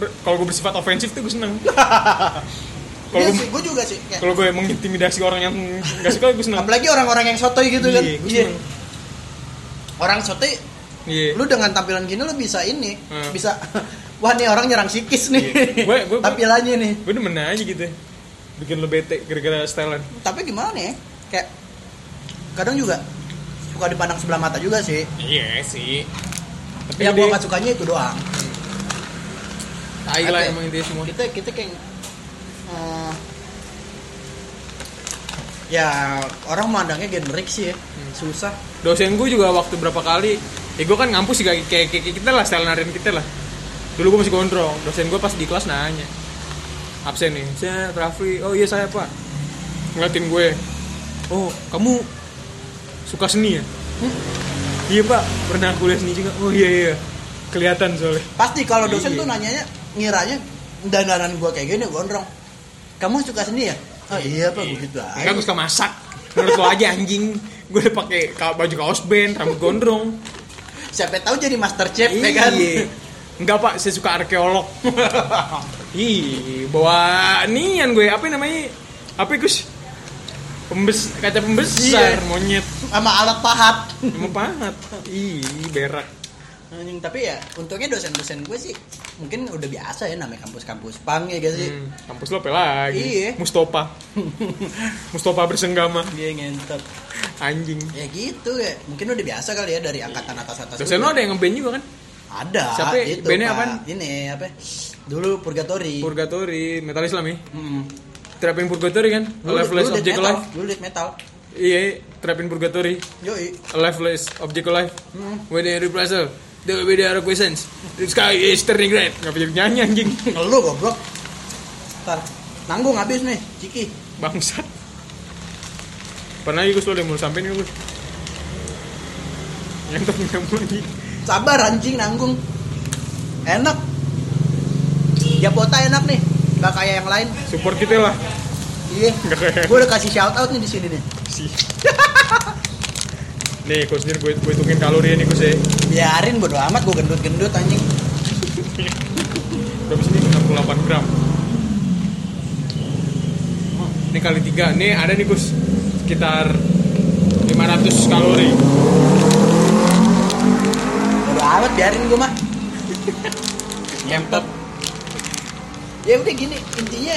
Speaker 2: ber- kalau gue bersifat ofensif tuh gue seneng. Kalau
Speaker 1: iya
Speaker 2: gue
Speaker 1: sih gue juga sih kayak,
Speaker 2: kalau gue mengintimidasi orang yang gak suka gue seneng.
Speaker 1: apalagi orang-orang yang sotoy gitu kan
Speaker 2: Iya, gue seneng.
Speaker 1: orang sotoy
Speaker 2: Iya.
Speaker 1: lu dengan tampilan gini lu bisa ini
Speaker 2: Hmm.
Speaker 1: bisa wah nih orang nyerang psikis nih
Speaker 2: Iya. Gua- gua- gua-
Speaker 1: tampilannya nih
Speaker 2: Gue demen aja gitu. Bikin lo bete gara-gara stylean.
Speaker 1: tapi gimana ya kayak kadang juga suka dipandang sebelah mata juga sih
Speaker 2: Iya sih. Tapi
Speaker 1: yang
Speaker 2: gede.
Speaker 1: Iya, gua gak sukanya itu doang
Speaker 2: Tai lah
Speaker 1: Apa ya?
Speaker 2: emang intinya semua.
Speaker 1: kita kita kayak eh, ya orang mandangnya generik sih ya
Speaker 2: Hmm.
Speaker 1: susah
Speaker 2: Dosen gue juga waktu berapa kali, ya gue kan ngampus juga kayak, kayak, kayak kita lah, style narian kita lah. Dulu gue masih gondrong, dosen gue pas di kelas nanya. Absen nih, saya Rafli, oh iya saya pak. Ngeliatin gue, oh kamu suka seni ya? "Hmm, Iya pak, pernah kuliah seni juga. Oh iya iya, kelihatan soalnya.
Speaker 1: pasti kalau dosen
Speaker 2: Iya.
Speaker 1: tuh nanyanya ngiranya dandanan gua kayak gini gondrong kamu suka seni ya oh iya pak gua gitu
Speaker 2: Enggak
Speaker 1: aja
Speaker 2: gue suka masak. Menurut lo aja anjing, gue udah pakai ka- baju kaos band, rambut gondrong.
Speaker 1: siapa tahu jadi master chef ya kan
Speaker 2: Iya. Enggak pak, saya suka arkeolog. Ih, bawa nian gue, apa namanya? Apa Gus? Pembes, kaca pembesar,
Speaker 1: Iya.
Speaker 2: monyet,
Speaker 1: sama alat pahat
Speaker 2: sama pahat. Ih, berak.
Speaker 1: Anjing, tapi ya untungnya dosen-dosen gue sih mungkin udah biasa ya namanya kampus-kampus pang ya gak sih
Speaker 2: Hmm, kampus lo apa lagi?
Speaker 1: Iya.
Speaker 2: Mustopa. Mustopa bersenggama,
Speaker 1: dia ngentot
Speaker 2: anjing.
Speaker 1: ya gitu ya mungkin udah biasa kali ya dari angkatan atas atas
Speaker 2: Dosen lo ada yang ngeband juga kan?
Speaker 1: ada
Speaker 2: Siapa ya?
Speaker 1: itu
Speaker 2: Bandnya
Speaker 1: Pak.
Speaker 2: apaan?
Speaker 1: ini apa ya? dulu purgatory
Speaker 2: Purgatory, metal Islam ya?
Speaker 1: Mm-mm.
Speaker 2: Terapin Purgatory kan? A
Speaker 1: Dulu-
Speaker 2: lifeless
Speaker 1: dulu death
Speaker 2: object
Speaker 1: metal.
Speaker 2: alive.
Speaker 1: dulu death metal
Speaker 2: Iya, terapin Purgatory.
Speaker 1: yoi
Speaker 2: A lifeless object alive.
Speaker 1: Hmm.
Speaker 2: When they replace there will be the other questions. The sky is turning red. Gak bisa nyanyi anjing.
Speaker 1: ngeluh goblok ntar nanggung habis nih ciki
Speaker 2: Bangsat. Pernah lagi gue selalu mau sampai nih gue. Nyentok nyamuk lagi.
Speaker 1: sabar anjing nanggung enak Japota enak nih nggak kayak yang lain
Speaker 2: Support kita lah.
Speaker 1: iya
Speaker 2: Nggak kayak-
Speaker 1: gue udah kasih shout out nih di sini nih
Speaker 2: Si. nih, gue sendiri gue, gue hitungin kalori ya. nih gue sih.
Speaker 1: biarin bodo amat gue gendut gendut anjing
Speaker 2: Berapa sih ini? 68 gram. Ini kali tiga. Nih ada nih Gus sekitar 500 kalori.
Speaker 1: bodo amat biarin gue mah
Speaker 2: Nyentot.
Speaker 1: ya udah gini intinya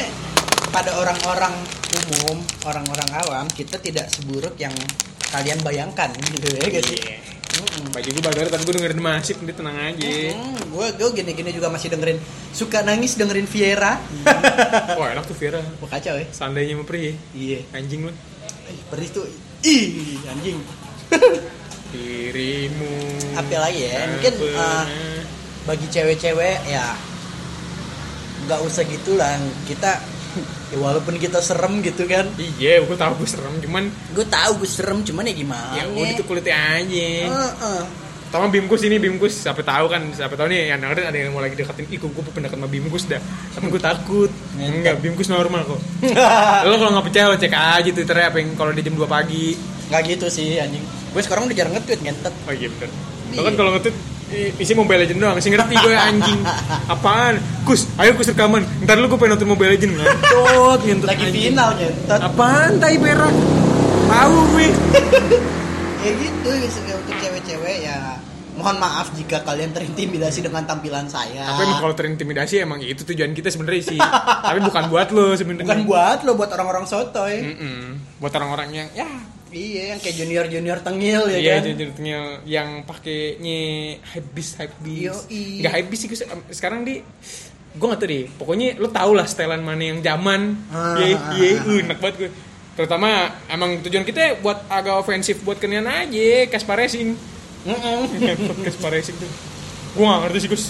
Speaker 1: pada orang-orang umum orang-orang awam kita tidak seburuk yang kalian bayangkan gitu ya guys
Speaker 2: Iya. Baju gue bagar tapi gue dengerin masif dia tenang aja.
Speaker 1: gue gue Hmm, gini-gini juga masih dengerin suka nangis dengerin Viera
Speaker 2: Wah enak tuh Vira.
Speaker 1: Wah, kacau ya
Speaker 2: Seandainya mau pergi
Speaker 1: iya
Speaker 2: anjing lu.
Speaker 1: perih tuh ih anjing
Speaker 2: Dirimu.
Speaker 1: Apa lagi ya? Mungkin,
Speaker 2: tak
Speaker 1: ah,
Speaker 2: pernah.
Speaker 1: bagi cewek-cewek ya nggak usah gitulah kita ya walaupun kita serem gitu kan
Speaker 2: Iya, gue tahu gue serem, cuman
Speaker 1: gue tahu gue serem cuman ya gimana
Speaker 2: ya udah tuh kulitnya aja.
Speaker 1: Heeh.
Speaker 2: Tolong bimkus ini bimkus, siapa tahu kan, siapa tahu nih yang dengerin ada yang mau lagi deketin, ih gue pendekat sama bimkus dah, tapi gue takut. Enggak, bimkus normal kok.
Speaker 1: Ah.
Speaker 2: Lo kalau nggak percaya lo cek aja twitternya apa yang kalau di jam 2 pagi.
Speaker 1: nggak gitu sih anjing gue sekarang udah jarang nge-tweet ngentet
Speaker 2: Oh iya bener Lo kan kalau ngetweet i- isi Mobile Legend doang, sih ngerti gue anjing. Apaan? Kus, ayo kus rekaman. Ntar lu gue pengen nonton Mobile Legend ngantot, ngentot
Speaker 1: lagi
Speaker 2: anjing.
Speaker 1: final ngentet
Speaker 2: Apaan tai perak? Tahu gue.
Speaker 1: ya gitu ya, se- untuk cewek-cewek ya mohon maaf jika kalian terintimidasi dengan tampilan saya
Speaker 2: Tapi emang kalau terintimidasi emang itu tujuan kita sebenarnya sih. Tapi bukan buat lo sebenarnya.
Speaker 1: bukan buat lo buat orang-orang sotoy
Speaker 2: Mm-mm. Buat orang-orang yang ya
Speaker 1: iya yang kayak junior junior tengil ya
Speaker 2: iya
Speaker 1: kan
Speaker 2: jadi tengil yang pakainya hypebeast hypebeast
Speaker 1: Yoi.
Speaker 2: nggak hypebeast sih Gus. Em, sekarang di gue gak tau deh pokoknya lo tau lah setelan mana yang zaman
Speaker 1: Ah,
Speaker 2: ye
Speaker 1: ah,
Speaker 2: ye
Speaker 1: ah,
Speaker 2: uh, enak banget gue terutama emang tujuan kita buat agak ofensif buat kenian aja cash racing Kayak podcast Paresik tuh gue gak ngerti sih Gus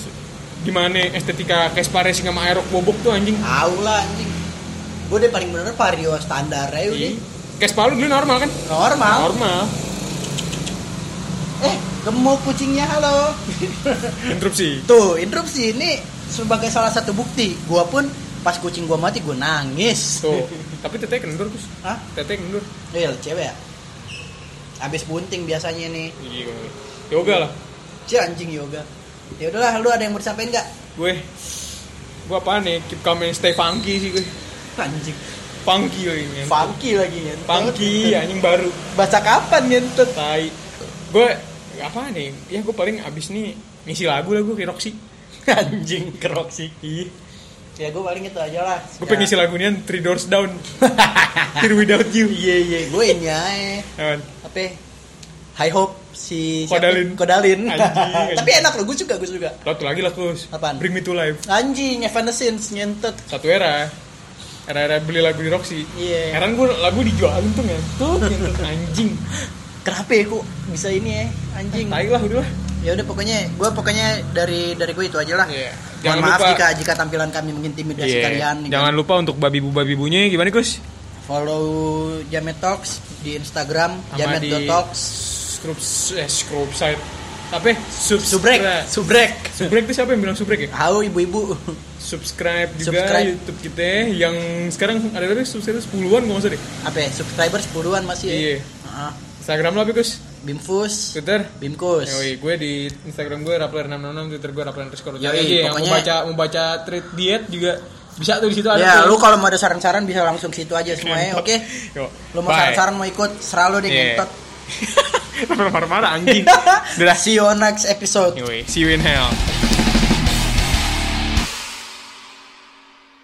Speaker 2: gimana estetika kayak Paresik sama Aerok Bobok tuh anjing
Speaker 1: Tahu lah anjing. Gue deh paling bener vario standar ya udah.
Speaker 2: Kayak Palu dulu normal kan?
Speaker 1: Normal.
Speaker 2: Normal.
Speaker 1: Eh, gemuk kucingnya halo.
Speaker 2: Interupsi.
Speaker 1: Tuh, interupsi ini sebagai salah satu bukti. Gua pun pas kucing gua mati gua nangis.
Speaker 2: Tuh. Tapi teteh kendur Gus.
Speaker 1: Hah?
Speaker 2: Teteh kendur.
Speaker 1: Real cewek ya? Abis bunting biasanya nih.
Speaker 2: Iya. Yoga lah.
Speaker 1: Si anjing yoga. Ya udahlah, lu ada yang mau disampaikan enggak?
Speaker 2: Gue gue apa nih? Keep calm and stay funky sih gue.
Speaker 1: Anjing.
Speaker 2: Funky gue ini.
Speaker 1: Funky lagi ya.
Speaker 2: Funky anjing baru.
Speaker 1: Baca kapan ngentut?
Speaker 2: Tai. Gue apa nih? Ya gue paling abis nih ngisi lagu lah gue kayak Roxy.
Speaker 1: Anjing kerok sih.
Speaker 2: Iya.
Speaker 1: Ya gue paling itu aja lah.
Speaker 2: Gue pengen ngisi lagu nian Three Doors Down. Here Without You. Ya kan?
Speaker 1: Iya iya, gue ini aja.
Speaker 2: Apaan?
Speaker 1: Apa? High Hope si siapa?
Speaker 2: Kodalin.
Speaker 1: Kodalin.
Speaker 2: Anjing.
Speaker 1: Tapi enak loh, gue juga, gue juga.
Speaker 2: Satu lagi lah Gus.
Speaker 1: Apaan?
Speaker 2: Bring Me To Life.
Speaker 1: Anjing, Evanescence ngentut.
Speaker 2: Satu era. Era-era beli lagu di Roxy.
Speaker 1: Iya.
Speaker 2: Heran gue lagu dijualin tuh ngentuk, ngentuk anjing.
Speaker 1: Kenapa ya kok bisa ini ya anjing?
Speaker 2: Tai lah udah lah.
Speaker 1: Ya udah pokoknya gue pokoknya dari dari gue itu aja lah.
Speaker 2: Iya.
Speaker 1: Mohon
Speaker 2: Jangan
Speaker 1: maaf
Speaker 2: lupa- Iya.
Speaker 1: jika jika tampilan kami mengintimidasi kalian. ya
Speaker 2: Jangan
Speaker 1: kan?
Speaker 2: lupa untuk babi bu babi bunyi gimana Gus?
Speaker 1: Follow Jamet Talks di Instagram
Speaker 2: Sama
Speaker 1: Jamet
Speaker 2: di
Speaker 1: Talks.
Speaker 2: Scrub eh scrub site. Apa?
Speaker 1: Subrek,
Speaker 2: Subscribe.
Speaker 1: Subrek.
Speaker 2: Subrek itu siapa yang bilang subrek ya?
Speaker 1: Halo ibu-ibu.
Speaker 2: Subscribe juga
Speaker 1: Subscribe.
Speaker 2: YouTube kita yang sekarang ada berapa subscriber sepuluhan nggak usah deh.
Speaker 1: Apa ya, subscriber sepuluhan masih ya?
Speaker 2: Iya.
Speaker 1: Heeh.
Speaker 2: Instagram lah Gus,
Speaker 1: Bimfus,
Speaker 2: Twitter.
Speaker 1: Bimkus.
Speaker 2: Yoi, gue di Instagram gue rapler 666, Twitter gue rapler underscore. Cari
Speaker 1: Yoi,
Speaker 2: aja yang mau
Speaker 1: pokoknya-
Speaker 2: baca mau baca treat diet juga bisa tuh di situ ada.
Speaker 1: Ya,
Speaker 2: tuh.
Speaker 1: lu kalau mau ada saran-saran bisa langsung situ aja semuanya,
Speaker 2: Ngentot.
Speaker 1: oke?
Speaker 2: Yuk.
Speaker 1: Lu mau
Speaker 2: Bye.
Speaker 1: saran-saran mau ikut, selalu deh
Speaker 2: Iya.
Speaker 1: ngentot.
Speaker 2: Marah-marah anjing. Udah.
Speaker 1: See you on next episode.
Speaker 2: Anyway, see you in hell.